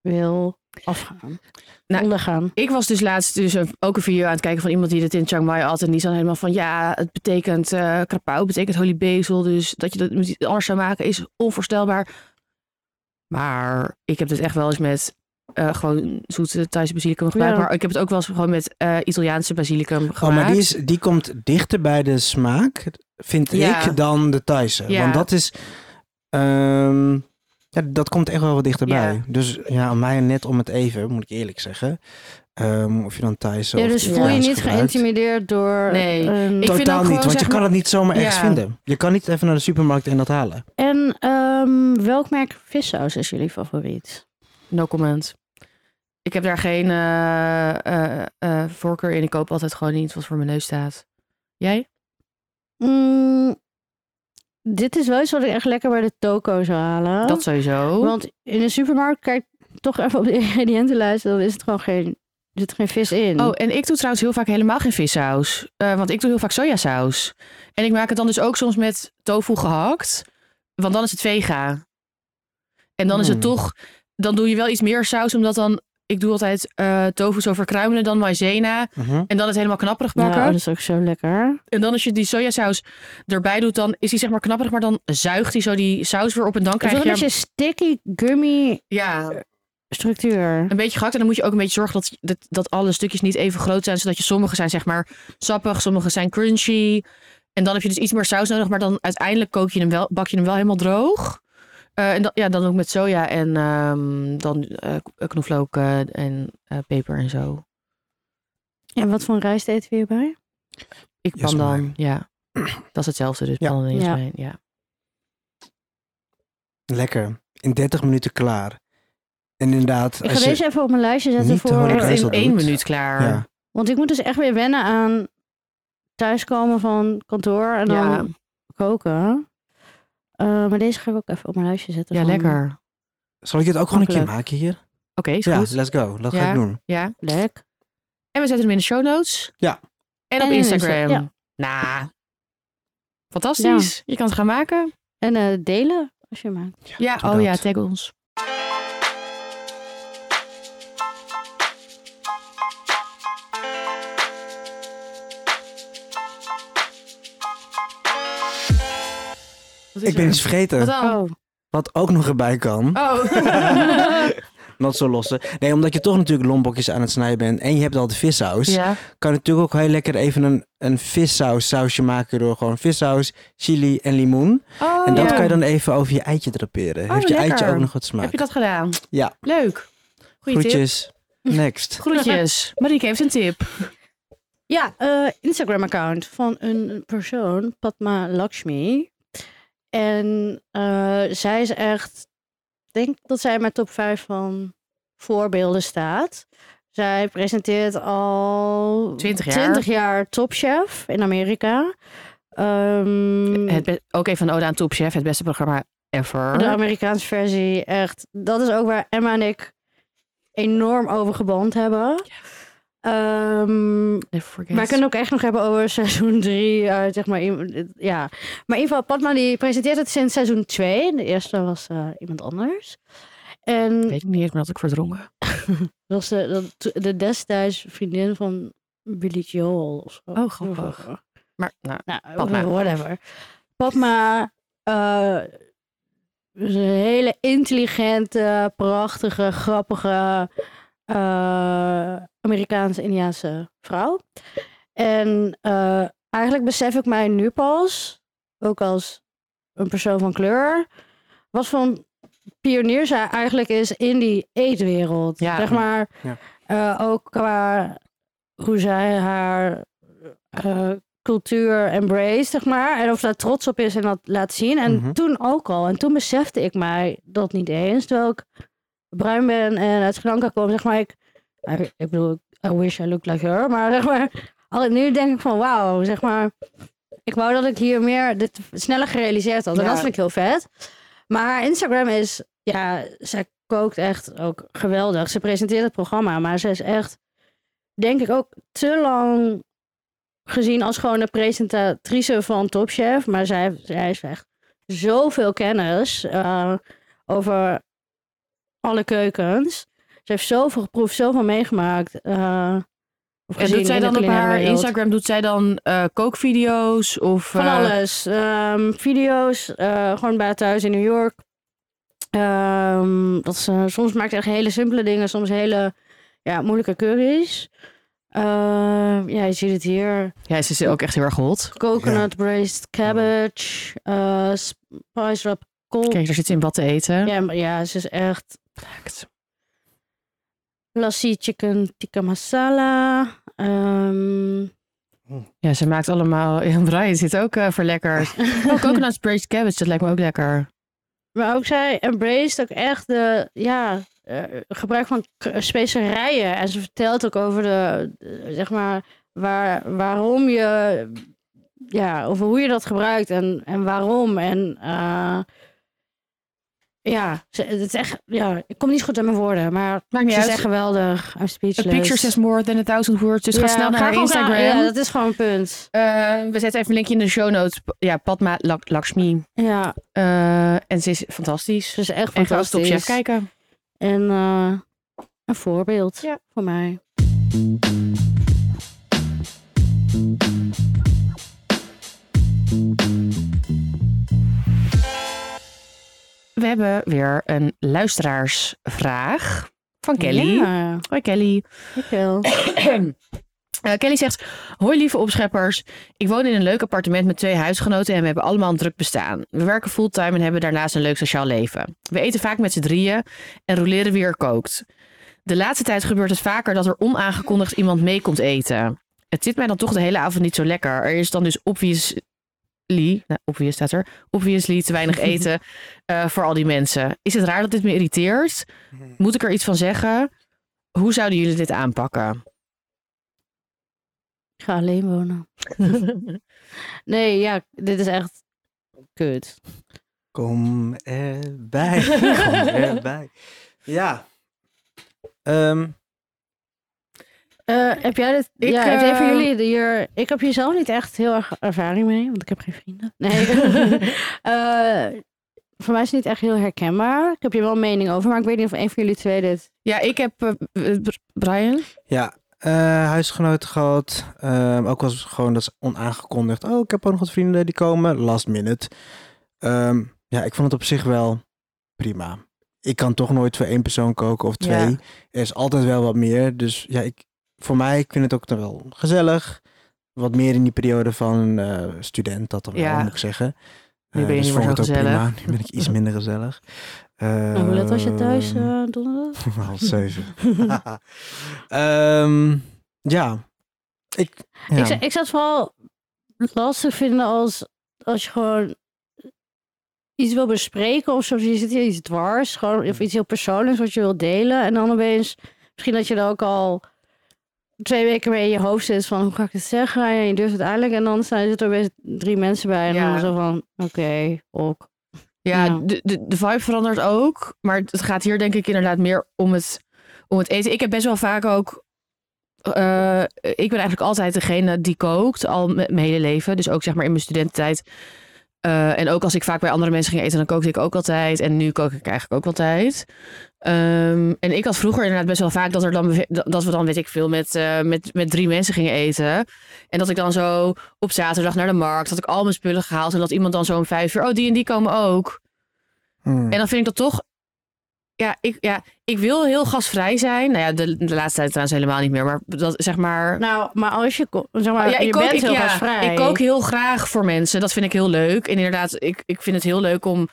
[SPEAKER 1] wil afgaan?
[SPEAKER 3] Nou,
[SPEAKER 1] ondergaan.
[SPEAKER 3] Ik was dus laatst dus een- ook een video aan het kijken van iemand die dit in Chiang Mai had. En die zei helemaal van, ja, het betekent eh krapau, het betekent holy basil. Dus dat je dat met iets anders zou maken is onvoorstelbaar. Maar ik heb dit echt wel eens met eh, gewoon zoete Thaise basilicum gemaakt.
[SPEAKER 1] Ja.
[SPEAKER 3] Maar ik heb het ook wel eens gewoon met eh, Italiaanse basilicum gemaakt.
[SPEAKER 2] Oh, maar die, is, die komt dichter bij de smaak, vind
[SPEAKER 3] Ja.
[SPEAKER 2] ik, dan de Thaise.
[SPEAKER 3] Ja.
[SPEAKER 2] Want dat is... ehm, ja, dat komt echt wel wat dichterbij.
[SPEAKER 3] Ja.
[SPEAKER 2] Dus ja, aan mij net om het even, moet ik eerlijk zeggen. Ehm, of je dan Thaise
[SPEAKER 1] Ja,
[SPEAKER 2] of
[SPEAKER 1] dus voel je
[SPEAKER 2] Italiaans
[SPEAKER 1] niet
[SPEAKER 2] gebruikt.
[SPEAKER 1] geïntimideerd door...
[SPEAKER 3] Nee.
[SPEAKER 1] een-
[SPEAKER 3] Ik- vind
[SPEAKER 2] Totaal
[SPEAKER 3] ook
[SPEAKER 2] niet,
[SPEAKER 3] gewoon,
[SPEAKER 2] want je
[SPEAKER 3] zeg
[SPEAKER 2] kan
[SPEAKER 3] maar-
[SPEAKER 2] het niet zomaar
[SPEAKER 3] Ja.
[SPEAKER 2] ergens vinden. Je kan niet even naar de supermarkt en dat halen.
[SPEAKER 1] En ehm, welk merk vissaus is jullie favoriet?
[SPEAKER 3] No comment. Ik heb daar geen eh, eh, eh, voorkeur in. Ik koop altijd gewoon iets wat voor mijn neus staat. Jij?
[SPEAKER 1] Mm, dit is wel iets wat ik echt lekker bij de toko zou halen.
[SPEAKER 3] Dat sowieso.
[SPEAKER 1] Want in de supermarkt, kijk toch even op de ingrediëntenlijst, dan is het gewoon geen, er zit geen vis in.
[SPEAKER 3] Oh, en ik doe trouwens heel vaak helemaal geen vissaus. Eh, want ik doe heel vaak sojasaus. En ik maak het dan dus ook soms met tofu gehakt. Want dan is het vega. En dan is het
[SPEAKER 2] Hmm.
[SPEAKER 3] toch... Dan doe je wel iets meer saus, omdat dan... Ik doe altijd eh tofu zo verkruimelen, dan maizena.
[SPEAKER 2] Mhm.
[SPEAKER 3] En dan het helemaal knapperig
[SPEAKER 1] Ja,
[SPEAKER 3] bakken.
[SPEAKER 1] Nou, dat is ook zo lekker.
[SPEAKER 3] En dan als je die sojasaus erbij doet, dan is die zeg maar knapperig, maar dan zuigt hij zo die saus weer op en dan
[SPEAKER 1] Het is
[SPEAKER 3] krijg
[SPEAKER 1] wel een
[SPEAKER 3] je
[SPEAKER 1] beetje sticky, gummy
[SPEAKER 3] ja,
[SPEAKER 1] structuur.
[SPEAKER 3] een beetje gehakt. En dan moet je ook een beetje zorgen dat, dat, dat alle stukjes niet even groot zijn, zodat je sommige zijn zeg maar sappig, sommige zijn crunchy. En dan heb je dus iets meer saus nodig, maar dan uiteindelijk kook je hem wel, bak je hem wel helemaal droog. Eh, en dan, ja, dan ook met soja en ehm, dan eh, knoflook eh, en eh, peper en zo.
[SPEAKER 1] En wat voor rijst eten we hierbij?
[SPEAKER 3] Ik pan dan,
[SPEAKER 2] Jasmijn.
[SPEAKER 3] ja. Dat is hetzelfde, dus
[SPEAKER 2] Ja.
[SPEAKER 3] pan en
[SPEAKER 1] Ja.
[SPEAKER 3] jasmijn, ja.
[SPEAKER 2] Lekker. In 30 minuten klaar. En inderdaad,
[SPEAKER 1] Ik
[SPEAKER 2] als
[SPEAKER 1] ga
[SPEAKER 2] je-
[SPEAKER 1] deze even op mijn lijstje zetten
[SPEAKER 2] niet te horen
[SPEAKER 1] voor...
[SPEAKER 2] Echt
[SPEAKER 3] Echt
[SPEAKER 2] Als je
[SPEAKER 3] in
[SPEAKER 2] dat
[SPEAKER 3] één
[SPEAKER 2] doet.
[SPEAKER 3] minuut klaar.
[SPEAKER 2] ja.
[SPEAKER 1] Want ik moet dus echt weer wennen aan thuiskomen van kantoor en dan
[SPEAKER 3] Ja.
[SPEAKER 1] koken. Eh, maar deze ga ik ook even op mijn lijstje zetten.
[SPEAKER 3] Ja,
[SPEAKER 1] van-
[SPEAKER 3] lekker.
[SPEAKER 2] Zal ik het ook gewoon een keer
[SPEAKER 1] Makkelijk.
[SPEAKER 2] maken hier?
[SPEAKER 3] Oké, is
[SPEAKER 2] Ja,
[SPEAKER 3] goed.
[SPEAKER 2] let's go. Dat
[SPEAKER 3] Ja.
[SPEAKER 2] ga ik doen.
[SPEAKER 3] Ja.
[SPEAKER 1] Lek.
[SPEAKER 3] En we zetten hem in de show notes.
[SPEAKER 2] Ja.
[SPEAKER 3] En
[SPEAKER 1] En
[SPEAKER 3] op
[SPEAKER 1] in
[SPEAKER 3] Instagram.
[SPEAKER 1] Insta- ja.
[SPEAKER 3] Nou, fantastisch. Je kan het gaan maken. oh
[SPEAKER 1] En eh, delen als je maakt.
[SPEAKER 3] Ja,
[SPEAKER 2] doe
[SPEAKER 3] oh ja,
[SPEAKER 2] dat.
[SPEAKER 3] tag ons. Wat is
[SPEAKER 2] Ik ben
[SPEAKER 3] er?
[SPEAKER 2] iets vergeten.
[SPEAKER 3] Wat dan?
[SPEAKER 1] Oh.
[SPEAKER 2] Wat ook nog erbij kan.
[SPEAKER 3] Oh.
[SPEAKER 2] Not zo lossen. Nee, omdat je toch natuurlijk lombokjes aan het snijden bent. En je hebt al de vissaus.
[SPEAKER 3] ja.
[SPEAKER 2] Kan je natuurlijk ook heel lekker even een, een vissaus sausje maken. Door gewoon vissaus, chili en limoen.
[SPEAKER 3] Oh,
[SPEAKER 2] en dat
[SPEAKER 3] ja. Oh,
[SPEAKER 2] kan je dan even over je eitje draperen. Heeft je eitje
[SPEAKER 3] lekker.
[SPEAKER 2] ook nog wat smaak.
[SPEAKER 3] Heb je dat gedaan?
[SPEAKER 2] Ja.
[SPEAKER 3] Leuk. Goeie tip.
[SPEAKER 2] Groetjes. Next.
[SPEAKER 3] Groetjes. Marieke heeft een tip.
[SPEAKER 1] Ja, eh, Instagram-account van een persoon, Padma Lakshmi. En eh, zij is echt, ik denk dat zij in mijn top 5 van voorbeelden staat. Zij presenteert al
[SPEAKER 3] 20 jaar.
[SPEAKER 1] 20 jaar topchef in Amerika. Ehm,
[SPEAKER 3] Het be- ook even een ode aan Top Chef, het beste programma ever.
[SPEAKER 1] de Amerikaanse versie, echt. Dat is ook waar Emma en ik enorm over geband hebben. Ehm,
[SPEAKER 3] Never forget.
[SPEAKER 1] Maar we kunnen ook echt nog hebben over seizoen 3. zeg maar, i- ja. Maar in ieder geval, Padma die presenteert het sinds seizoen 2. De eerste was eh, iemand anders. En
[SPEAKER 3] Weet ik niet, maar dat ik verdrongen.
[SPEAKER 1] dat was de, dat- to- de destijds vriendin van Billy Joel of zo.
[SPEAKER 3] Oh, grappig. Maar nou,
[SPEAKER 1] Nou,
[SPEAKER 3] Padma.
[SPEAKER 1] whatever. Padma eh, is een hele intelligente, prachtige, grappige eh, Amerikaanse-Indiaanse vrouw. En eh, eigenlijk besef ik mij nu pas, ook als een persoon van kleur, wat voor een pionier zij eigenlijk is in die eetwereld.
[SPEAKER 3] Ja.
[SPEAKER 1] Zeg maar,
[SPEAKER 2] Ja.
[SPEAKER 1] eh, ook qua hoe zij haar eh, cultuur embrace, zeg maar. En of ze daar trots op is en dat laat zien. En
[SPEAKER 2] Mhm.
[SPEAKER 1] toen ook al. En toen besefte ik mij dat niet eens. Terwijl ik bruin ben en uit Sri Lanka kom, zeg maar. Ik, I- ik bedoel, I wish I looked like her. Maar zeg maar, al- nu denk ik van wauw, zeg maar. Ik wou dat ik hier meer, dit sneller gerealiseerd had. En
[SPEAKER 3] Ja.
[SPEAKER 1] dat vind ik heel vet. Maar haar Instagram is, ja, zij kookt echt ook geweldig. Ze presenteert het programma, maar ze is echt, denk ik ook te lang gezien als gewoon de presentatrice van Top Chef. Maar zij, zij is echt zoveel kennis eh, over alle keukens. Ze heeft zoveel geproefd, zoveel meegemaakt. eh, of
[SPEAKER 3] en
[SPEAKER 1] gezien
[SPEAKER 3] doet zij
[SPEAKER 1] in de
[SPEAKER 3] dan op
[SPEAKER 1] culinaire
[SPEAKER 3] haar
[SPEAKER 1] wereld.
[SPEAKER 3] Instagram, doet zij dan eh, kookvideo's of...
[SPEAKER 1] Van
[SPEAKER 3] eh,
[SPEAKER 1] alles. Ehm, video's, eh, gewoon bij haar thuis in New York. Ehm, dat ze, soms maakt ze echt hele simpele dingen, soms hele ja, moeilijke curry's. Ehm, ja, je ziet het hier.
[SPEAKER 3] Ja, ze is ook echt heel erg hot.
[SPEAKER 1] Coconut braised cabbage, eh spice wrap kool.
[SPEAKER 3] Kijk, daar zit ze in wat te eten.
[SPEAKER 1] Ja, maar ja, ze is echt
[SPEAKER 3] Perfect.
[SPEAKER 1] lassi chicken tikka masala. Ehm,
[SPEAKER 3] Ja, ze maakt allemaal... Ja, Brian zit ook eh verlekkerd. oh, coconut braised cabbage, dat lijkt me ook lekker.
[SPEAKER 1] Maar ook zij embraced ook echt de, ja, eh, gebruik van k- specerijen. En ze vertelt ook over de, eh, zeg maar, waar, waarom je, ja, over hoe je dat gebruikt en, en waarom. En eh, ja, ze- het is echt, ja, ik kom niet goed aan mijn woorden, maar
[SPEAKER 3] Maakt niet
[SPEAKER 1] ze is echt
[SPEAKER 3] uit.
[SPEAKER 1] geweldig. I'm
[SPEAKER 3] A
[SPEAKER 1] speechless.
[SPEAKER 3] picture says more than a thousand words. Dus
[SPEAKER 1] Ja,
[SPEAKER 3] ga snel naar haar
[SPEAKER 1] gewoon
[SPEAKER 3] Instagram.
[SPEAKER 1] Ja, dat is gewoon een punt.
[SPEAKER 3] Eh, we zetten even een linkje in de show notes. Ja, Padma Lak- Lakshmi.
[SPEAKER 1] Ja,
[SPEAKER 3] Eh, en ze is fantastisch.
[SPEAKER 1] ze is echt
[SPEAKER 3] En ga als
[SPEAKER 1] fantastisch.
[SPEAKER 3] topchef kijken.
[SPEAKER 1] En eh, een voorbeeld
[SPEAKER 3] Ja.
[SPEAKER 1] voor mij.
[SPEAKER 3] We hebben weer een luisteraarsvraag van Kelly.
[SPEAKER 1] Ja,
[SPEAKER 3] Hoi Kelly.
[SPEAKER 1] ik wel.
[SPEAKER 3] Eh, Kelly zegt, hoi lieve opscheppers. Ik woon in een leuk appartement met twee huisgenoten en we hebben allemaal een druk bestaan. We werken fulltime en hebben daarnaast een leuk sociaal leven. We eten vaak met z'n drieën en roleren wie er kookt. De laatste tijd gebeurt het vaker dat er onaangekondigd iemand mee komt eten. Het zit mij dan toch de hele avond niet zo lekker. Er is dan dus obviously, nou obvious staat er, obviously te weinig eten eh, voor al die mensen. Is het raar dat dit me irriteert? Moet ik er iets van zeggen? Hoe zouden jullie dit aanpakken?
[SPEAKER 1] Ik ga alleen wonen. Nee, ja, dit is echt kut.
[SPEAKER 2] Kom erbij. Kom erbij. Ja. Ehm,
[SPEAKER 1] Eh, heb jij dit?
[SPEAKER 3] Ik,
[SPEAKER 1] ja, heeft een van
[SPEAKER 3] eh,
[SPEAKER 1] jullie hier. Ik heb hier zelf niet echt heel erg ervaring mee, want ik heb geen vrienden. Nee. Eh, voor mij is het niet echt heel herkenbaar. Ik heb hier wel een mening over, maar ik weet niet of een van jullie twee dit.
[SPEAKER 3] Ja, ik heb eh, eh, Br- Brian.
[SPEAKER 2] ja. eh, huisgenoten gehad. Ehm, ook was het gewoon dat is onaangekondigd. Oh, ik heb ook nog wat vrienden die komen. Last minute. Eh, Ehm, ja, ik vond het op zich wel prima. Ik kan toch nooit voor één persoon koken of twee.
[SPEAKER 3] Ja.
[SPEAKER 2] Er is altijd wel wat meer. Dus ja, ik, voor mij, ik vind het ook nog wel gezellig. Wat meer in die periode van eh, student, dat dan wel,
[SPEAKER 3] Ja.
[SPEAKER 2] moet ik zeggen.
[SPEAKER 3] Nu
[SPEAKER 2] Eh,
[SPEAKER 3] ben je
[SPEAKER 2] dus
[SPEAKER 3] niet meer
[SPEAKER 2] vond
[SPEAKER 3] zo
[SPEAKER 2] ik het ook
[SPEAKER 3] gezellig.
[SPEAKER 2] Prima. Nu ben ik iets minder gezellig.
[SPEAKER 1] Nou, hoe laat was je thuis
[SPEAKER 2] Ehm,
[SPEAKER 1] eh, donderdag?
[SPEAKER 2] Half zeven. Ehm, ja. Ik, ja.
[SPEAKER 1] Ik, zou- ik zou het vooral lastig vinden als, als je gewoon iets wil bespreken of zo. Je zit hier iets dwars, gewoon,
[SPEAKER 3] Mm.
[SPEAKER 1] of iets heel persoonlijks wat je wilt delen. En dan opeens, misschien dat je er ook al twee weken mee in je hoofd zit van hoe ga ik het zeggen? En je durft het eindelijk. En dan zijn er opeens drie mensen bij en
[SPEAKER 3] Ja.
[SPEAKER 1] dan zo van, oké, ook.
[SPEAKER 3] Ja,
[SPEAKER 1] Ja.
[SPEAKER 3] De, de, de vibe verandert ook. Maar het gaat hier denk ik inderdaad meer om het, om het eten. Ik heb best wel vaak ook... eh, ik ben eigenlijk altijd degene die kookt, al met mijn hele leven. Dus ook zeg maar in mijn studententijd. Eh, en ook als ik vaak bij andere mensen ging eten, dan kookte ik ook altijd. En nu kook ik eigenlijk ook altijd. Ehm, en ik had vroeger inderdaad best wel vaak dat, er dan, beve- dat we dan, weet ik veel, met, eh, met, met drie mensen gingen eten. En dat ik dan zo op zaterdag naar de markt, had ik al mijn spullen gehaald. En dat iemand dan zo om vijf uur, oh die en die komen ook.
[SPEAKER 2] Hmm.
[SPEAKER 3] En dan vind ik dat toch. Ja ik, ja, ik wil heel gastvrij zijn. Nou ja, de, de laatste tijd trouwens helemaal niet meer. Maar dat zeg maar.
[SPEAKER 1] Nou, maar als je, ko- zeg maar,
[SPEAKER 3] Oh ja,
[SPEAKER 1] Nou, je bent heel
[SPEAKER 3] ja,
[SPEAKER 1] gastvrij.
[SPEAKER 3] Ik kook heel graag voor mensen. Dat vind ik heel leuk. En inderdaad, ik, ik vind het heel leuk om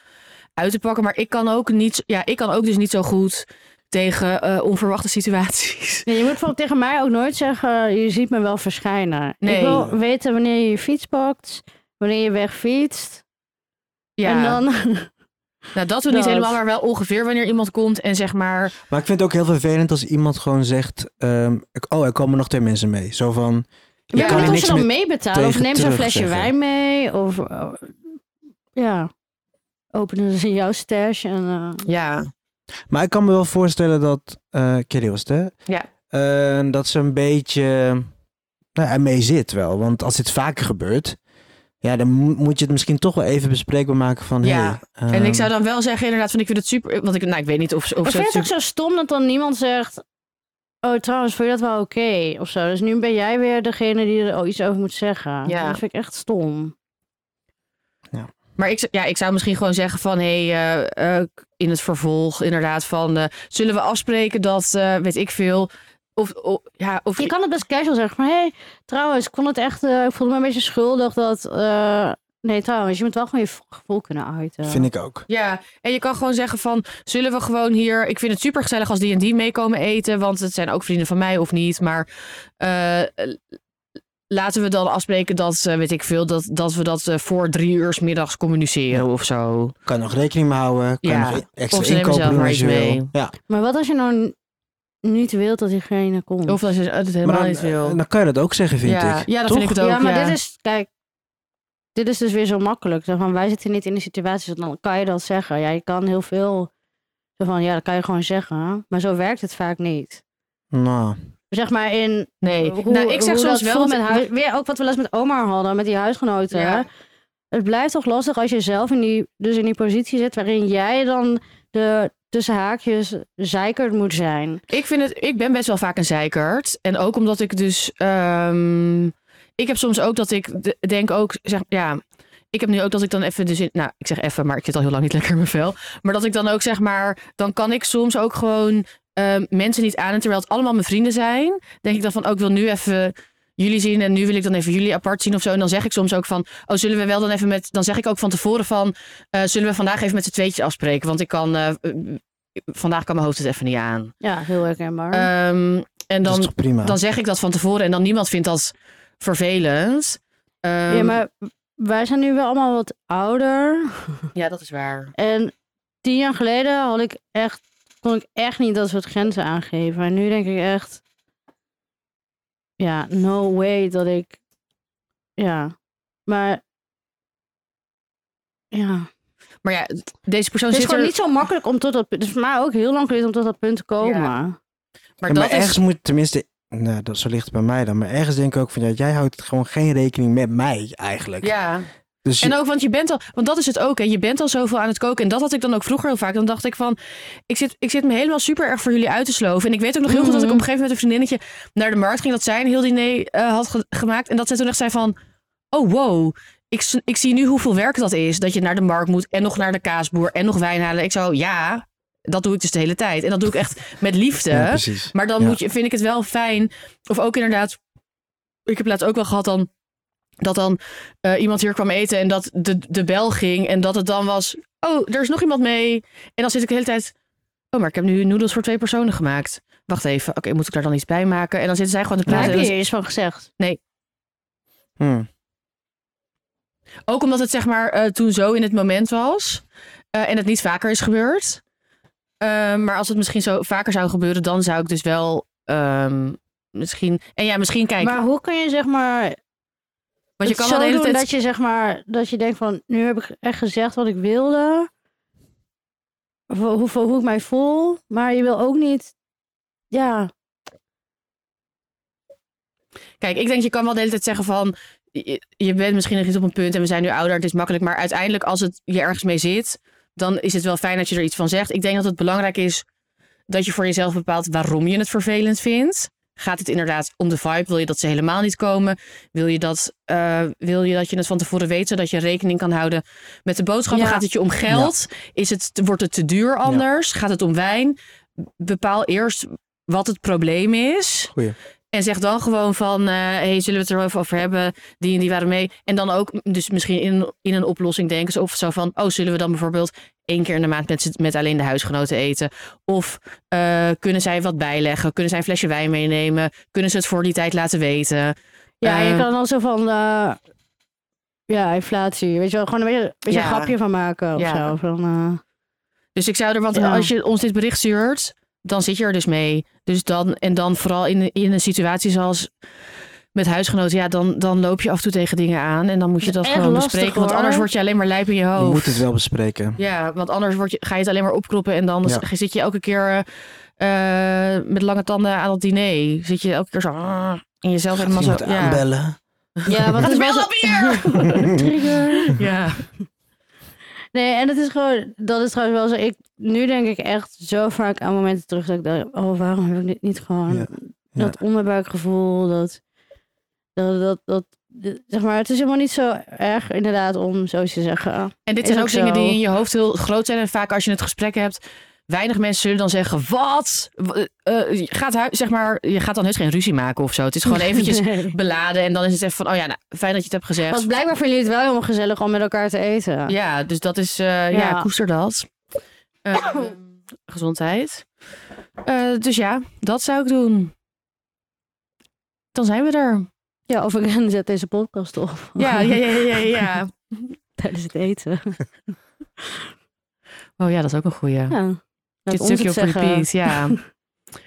[SPEAKER 3] uit te pakken. Maar ik kan ook niet. Ja, ik kan ook dus niet zo goed tegen eh, onverwachte situaties.
[SPEAKER 1] Nee, je moet bijvoorbeeld tegen mij ook nooit zeggen, je ziet me wel verschijnen.
[SPEAKER 3] Nee.
[SPEAKER 1] Ik wil weten wanneer je je fiets pakt, wanneer je wegfietst.
[SPEAKER 3] Ja,
[SPEAKER 1] En dan,
[SPEAKER 3] nou dat we niet
[SPEAKER 1] dat.
[SPEAKER 3] helemaal, maar wel ongeveer wanneer iemand komt en zeg maar.
[SPEAKER 2] Maar ik vind het ook heel vervelend als iemand gewoon zegt... ehm, ik- oh, er komen nog twee mensen mee. Zo van... Je
[SPEAKER 1] ja,
[SPEAKER 2] kan
[SPEAKER 1] maar
[SPEAKER 2] er
[SPEAKER 1] of ze
[SPEAKER 2] niks
[SPEAKER 1] dan
[SPEAKER 2] meer...
[SPEAKER 1] meebetalen. Of
[SPEAKER 2] tegen
[SPEAKER 1] neem ze een
[SPEAKER 2] terug
[SPEAKER 1] flesje
[SPEAKER 2] zeggen.
[SPEAKER 1] wijn mee. Of eh, ja, openen ze jouw stash. En, eh,
[SPEAKER 3] Ja,
[SPEAKER 2] Maar ik kan me wel voorstellen dat... eh Kelly was het, hè?
[SPEAKER 3] Ja.
[SPEAKER 2] Eh, dat ze een beetje nou, ermee zit wel. Want als dit vaker gebeurt... Ja, dan mo- moet je het misschien toch wel even bespreekbaar maken van...
[SPEAKER 3] Ja,
[SPEAKER 2] hey,
[SPEAKER 3] en ik
[SPEAKER 2] ehm,
[SPEAKER 3] zou dan wel zeggen inderdaad van ik vind het super. Want ik, nou, ik weet niet of, of
[SPEAKER 1] ik
[SPEAKER 3] ze
[SPEAKER 1] vind het
[SPEAKER 3] het
[SPEAKER 1] ook
[SPEAKER 3] super-
[SPEAKER 1] zo stom dat dan niemand zegt... Oh, trouwens, vond je dat wel oké? Of zo. Dus nu ben jij weer degene die er iets over moet zeggen.
[SPEAKER 3] Ja.
[SPEAKER 1] Dat vind ik echt stom.
[SPEAKER 3] Maar ik, zou- ja, ik zou misschien gewoon zeggen van... hé, eh, eh, in het vervolg inderdaad van... eh, zullen we afspreken dat, eh, weet ik veel... Of, of- ja, of
[SPEAKER 1] Je kan het best casual zeggen. Maar hé, hey, trouwens, ik vond het echt... eh, ik voelde me een beetje schuldig dat... eh, nee, trouwens, je moet wel gewoon je gevoel kunnen uiten.
[SPEAKER 2] Vind ik ook.
[SPEAKER 3] Ja, en je kan gewoon zeggen van... zullen we gewoon hier... ik vind het super gezellig als die en die meekomen eten... want het zijn ook vrienden van mij of niet. Maar eh, laten we dan afspreken dat, eh, weet ik veel... dat, dat we dat eh, voor drie uur 's middags communiceren of zo.
[SPEAKER 2] Kan nog rekening mee houden. Kan
[SPEAKER 3] Ja.
[SPEAKER 2] nog e-, extra
[SPEAKER 3] Of ze nemen
[SPEAKER 2] inkopen
[SPEAKER 3] zelf
[SPEAKER 2] doen
[SPEAKER 3] maar
[SPEAKER 2] als je
[SPEAKER 3] iets
[SPEAKER 2] wil.
[SPEAKER 3] mee.
[SPEAKER 2] Ja.
[SPEAKER 1] Maar wat als je nou n- niet wilt dat diegene komt?
[SPEAKER 3] Of als je het helemaal
[SPEAKER 2] Maar dan,
[SPEAKER 3] niet wil.
[SPEAKER 2] eh, dan kan je dat ook zeggen, vind
[SPEAKER 3] ja,
[SPEAKER 2] ik.
[SPEAKER 3] ja, dat
[SPEAKER 2] Toch?
[SPEAKER 3] vind ik het ook.
[SPEAKER 1] ja, maar
[SPEAKER 3] ja.
[SPEAKER 1] dit is, kijk, dit is dus weer zo makkelijk. Zo van, wij zitten niet in de situatie, dus dan kan je dat zeggen. Ja, je kan heel veel, zo van, ja, dat kan je gewoon zeggen. Maar zo werkt het vaak niet.
[SPEAKER 2] Nou,
[SPEAKER 1] Zeg maar in,
[SPEAKER 3] Nee,
[SPEAKER 1] hoe,
[SPEAKER 3] nou, ik zeg
[SPEAKER 1] hoe
[SPEAKER 3] soms
[SPEAKER 1] dat
[SPEAKER 3] wel...
[SPEAKER 1] voelt
[SPEAKER 3] dat-
[SPEAKER 1] met huis, weer ook wat we laatst met oma hadden, met die huisgenoten.
[SPEAKER 3] Ja.
[SPEAKER 1] hè. Het blijft toch lastig als je zelf in die, dus in die positie zit waarin jij dan de tussen haakjes zeikerd moet zijn.
[SPEAKER 3] Ik vind het, ik ben best wel vaak een zeikert. En ook omdat ik dus. ehm, ik heb soms ook dat ik de- denk ook, zeg ja. Ik heb nu ook dat ik dan even dus in, nou, ik zeg even, maar ik zit al heel lang niet lekker in mijn vel. Maar dat ik dan ook zeg maar, dan kan ik soms ook gewoon ehm, mensen niet aan. En terwijl het allemaal mijn vrienden zijn, denk ik dan van, ook ik wil nu even jullie zien en nu wil ik dan even jullie apart zien of zo. En dan zeg ik soms ook van, oh, zullen we wel dan even met, dan zeg ik ook van tevoren van, eh, zullen we vandaag even met z'n tweetjes afspreken? Want ik kan, eh, vandaag kan mijn hoofd het even niet aan.
[SPEAKER 1] Ja, heel herkenbaar.
[SPEAKER 3] Ehm, en
[SPEAKER 2] dat is
[SPEAKER 3] dan,
[SPEAKER 2] toch prima?
[SPEAKER 3] dan zeg ik dat van tevoren en dan niemand vindt dat vervelend. Ehm,
[SPEAKER 1] ja, maar wij zijn nu wel allemaal wat ouder.
[SPEAKER 3] ja, dat is waar.
[SPEAKER 1] En tien jaar geleden had ik echt, kon ik echt niet dat soort grenzen aangeven. En nu denk ik echt, ja, no way dat ik, ja, maar, ja.
[SPEAKER 3] Maar ja, d- deze persoon
[SPEAKER 1] Het is
[SPEAKER 3] zit er...
[SPEAKER 1] gewoon niet zo makkelijk om tot dat punt, het is voor mij ook heel lang geleden om tot dat punt te komen.
[SPEAKER 3] Maar
[SPEAKER 2] Ja,
[SPEAKER 3] dat
[SPEAKER 2] maar ergens
[SPEAKER 3] is...
[SPEAKER 2] moet tenminste... Nou, dat, zo ligt het bij mij dan. Maar ergens denk ik ook van... Ja, jij houdt gewoon geen rekening met mij eigenlijk.
[SPEAKER 3] Ja,
[SPEAKER 2] Dus je-
[SPEAKER 3] en ook, want je bent al, want dat is het ook, hè. je bent al zoveel aan het koken. En dat had ik dan ook vroeger heel vaak. Dan dacht ik van, ik zit, ik zit me helemaal super erg voor jullie uit te sloven. En ik weet ook nog heel goed dat ik
[SPEAKER 2] Mhm.
[SPEAKER 3] op een gegeven moment met een vriendinnetje naar de markt ging. Dat zij een heel diner eh, had ge- gemaakt. En dat zij toen echt zei van, oh wow, ik, s- ik zie nu hoeveel werk dat is. Dat je naar de markt moet en nog naar de kaasboer en nog wijn halen. Ik zou, ja, dat doe ik dus de hele tijd. En dat doe ik echt met liefde.
[SPEAKER 2] Ja, precies.
[SPEAKER 3] Maar dan
[SPEAKER 2] Ja.
[SPEAKER 3] moet je, vind ik het wel fijn. Of ook inderdaad, ik heb laatst ook wel gehad dan dat dan eh, iemand hier kwam eten en dat de, de bel ging en dat het dan was, oh, er is nog iemand mee. En dan zit ik de hele tijd, oh, maar ik heb nu noedels voor twee personen gemaakt. Wacht even, oké, moet ik daar dan iets bij maken? En dan zitten zij gewoon te
[SPEAKER 1] Daar
[SPEAKER 3] praten. Dus
[SPEAKER 1] heb
[SPEAKER 3] En
[SPEAKER 1] je
[SPEAKER 3] dan-
[SPEAKER 1] eens van gezegd.
[SPEAKER 2] Hm.
[SPEAKER 3] Ook omdat het zeg maar eh, toen zo in het moment was eh, en het niet vaker is gebeurd. Ehm, maar als het misschien zo vaker zou gebeuren, dan zou ik dus wel ehm, misschien. En ja, misschien kijk.
[SPEAKER 1] Maar hoe kun je zeg maar
[SPEAKER 3] want je
[SPEAKER 1] het
[SPEAKER 3] kan wel de
[SPEAKER 1] zo
[SPEAKER 3] hele
[SPEAKER 1] doen
[SPEAKER 3] tijd
[SPEAKER 1] dat je zeg maar dat je denkt van nu heb ik echt gezegd wat ik wilde, voor hoe, voor hoe ik mij voel, maar je wil ook niet, ja,
[SPEAKER 3] Kijk, ik denk je kan wel de hele tijd zeggen van... Je, je bent misschien nog niet op een punt en we zijn nu ouder, het is makkelijk. Maar uiteindelijk als het je ergens mee zit, dan is het wel fijn dat je er iets van zegt. Ik denk dat het belangrijk is dat je voor jezelf bepaalt waarom je het vervelend vindt. Gaat het inderdaad om de vibe? Wil je dat ze helemaal niet komen? Wil je dat, eh, wil je, dat je het van tevoren weet, zodat je rekening kan houden met de boodschappen?
[SPEAKER 1] Ja.
[SPEAKER 3] Gaat het je om geld? Is het, wordt het te duur anders? Gaat het om wijn? Bepaal eerst wat het probleem is.
[SPEAKER 2] Goeie.
[SPEAKER 3] En zeg dan gewoon van, eh, hey, zullen we het er wel even over hebben? Die en die waren mee. En dan ook dus misschien in, in een oplossing denken. ze Of zo van, oh, zullen we dan bijvoorbeeld één keer in de maand met, z'n- met alleen de huisgenoten eten? Of eh, kunnen zij wat bijleggen? Kunnen zij een flesje wijn meenemen? Kunnen ze het voor die tijd laten weten?
[SPEAKER 1] ja,
[SPEAKER 3] Eh,
[SPEAKER 1] je kan dan zo van, eh, ja, inflatie, weet je wel, gewoon een beetje, beetje
[SPEAKER 3] Ja.
[SPEAKER 1] een grapje van maken of
[SPEAKER 3] Ja.
[SPEAKER 1] zo. Van, eh,
[SPEAKER 3] Dus ik zou er, want
[SPEAKER 1] Ja.
[SPEAKER 3] als je ons dit bericht stuurt, dan zit je er dus mee. Dus dan, en dan vooral in, in een situatie zoals met huisgenoten, ja, dan, dan loop je af en toe tegen dingen aan. En dan moet je
[SPEAKER 1] Dat
[SPEAKER 3] dat
[SPEAKER 1] is echt
[SPEAKER 3] gewoon
[SPEAKER 1] lastig,
[SPEAKER 3] bespreken, want
[SPEAKER 1] hoor.
[SPEAKER 3] anders word je alleen maar lijp in je
[SPEAKER 2] Je
[SPEAKER 3] hoofd.
[SPEAKER 2] moet het wel bespreken.
[SPEAKER 3] Oh. Ja, want anders word je, ga je het alleen maar opkroppen en dan
[SPEAKER 2] Ja.
[SPEAKER 3] z- zit je elke keer eh, eh, met lange tanden aan het diner. Zit je elke keer zo ah, in jezelf helemaal zo.
[SPEAKER 2] Iemand
[SPEAKER 3] Ja.
[SPEAKER 2] aanbellen.
[SPEAKER 1] ja, want het
[SPEAKER 3] Wat is
[SPEAKER 1] was-
[SPEAKER 3] wel weer?
[SPEAKER 1] Trigger.
[SPEAKER 3] Ja.
[SPEAKER 1] Nee, en het is gewoon, dat is trouwens wel zo. Ik, nu denk ik echt zo vaak aan momenten terug dat ik dacht, oh, waarom heb ik dit niet gewoon?
[SPEAKER 2] Ja,
[SPEAKER 1] Dat onderbuikgevoel, dat, dat, dat, dat, zeg maar, het is helemaal niet zo erg inderdaad om zoiets te zeggen.
[SPEAKER 3] En dit
[SPEAKER 1] Is
[SPEAKER 3] zijn ook
[SPEAKER 1] ook
[SPEAKER 3] dingen
[SPEAKER 1] zo.
[SPEAKER 3] die in je hoofd heel groot zijn. En vaak als je het gesprek hebt, weinig mensen zullen dan zeggen: Wat? W- eh, eh, je gaat hui- zeg maar, je gaat dan heus geen ruzie maken of zo. Het is gewoon eventjes
[SPEAKER 1] Nee.
[SPEAKER 3] beladen. En dan is het even van: Oh ja, nou, fijn dat je het hebt gezegd.
[SPEAKER 1] Want blijkbaar vinden jullie het wel helemaal gezellig om met elkaar te eten.
[SPEAKER 3] Ja, dus dat is, eh, ja.
[SPEAKER 1] Ja.
[SPEAKER 3] koester dat. Eh, gezondheid. Eh, dus ja, dat zou ik doen. Dan zijn we er.
[SPEAKER 1] Ja, of ik zet deze podcast op
[SPEAKER 3] Ja, ja, ja, ja, ja.
[SPEAKER 1] tijdens het eten.
[SPEAKER 3] Oh ja, dat is ook een goeie.
[SPEAKER 1] Ja. Laat
[SPEAKER 3] Dit
[SPEAKER 1] ons
[SPEAKER 3] stukje
[SPEAKER 1] het
[SPEAKER 3] op
[SPEAKER 1] zeggen.
[SPEAKER 3] repeat, ja.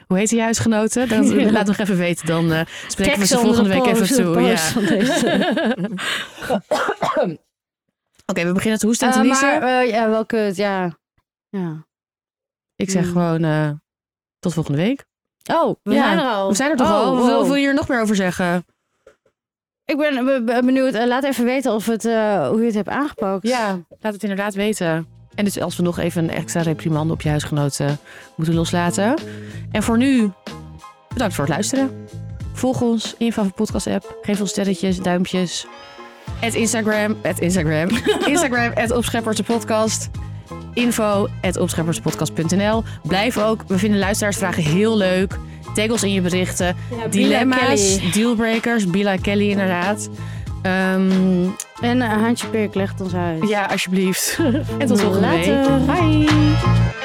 [SPEAKER 3] Hoe heet die huisgenoten? Dat,
[SPEAKER 1] Ja.
[SPEAKER 3] Laat nog even weten, dan eh, spreken we
[SPEAKER 1] Tekst
[SPEAKER 3] ze
[SPEAKER 1] onder
[SPEAKER 3] volgende
[SPEAKER 1] de
[SPEAKER 3] week even
[SPEAKER 1] post,
[SPEAKER 3] toe.
[SPEAKER 1] de
[SPEAKER 3] Ja.
[SPEAKER 1] post van deze.
[SPEAKER 3] Oké, we beginnen te hoesten en te
[SPEAKER 1] Eh,
[SPEAKER 3] niezen.
[SPEAKER 1] maar eh, ja, wel kut, ja. ja.
[SPEAKER 3] Ik zeg
[SPEAKER 1] mm.
[SPEAKER 3] gewoon eh, tot volgende week.
[SPEAKER 1] Oh, we
[SPEAKER 3] Ja,
[SPEAKER 1] zijn er al.
[SPEAKER 3] We zijn er toch
[SPEAKER 1] Oh,
[SPEAKER 3] al? Wat wil-
[SPEAKER 1] wow.
[SPEAKER 3] Wil je hier nog meer over zeggen?
[SPEAKER 1] Ik ben be- be- benieuwd. Eh, laat even weten of het, eh, hoe je het hebt aangepakt.
[SPEAKER 3] Ja, laat het inderdaad weten. En dus als we nog even een extra reprimande op je huisgenoten moeten loslaten. En voor nu, bedankt voor het luisteren. Volg ons in je favoriete podcast app. Geef ons sterretjes, duimpjes. Het Instagram, het Instagram. Instagram, het Opscheppers de podcast. Info, het opschepperspodcast.nl. Blijf ook, we vinden luisteraarsvragen heel leuk. Tag ons in je berichten. Dilemma's, dealbreakers, Bila Kelly inderdaad. Ehm
[SPEAKER 1] En een Haantje Peerk legt ons uit.
[SPEAKER 3] ja, alsjeblieft. En tot volgende
[SPEAKER 1] Later.
[SPEAKER 3] week. Bye.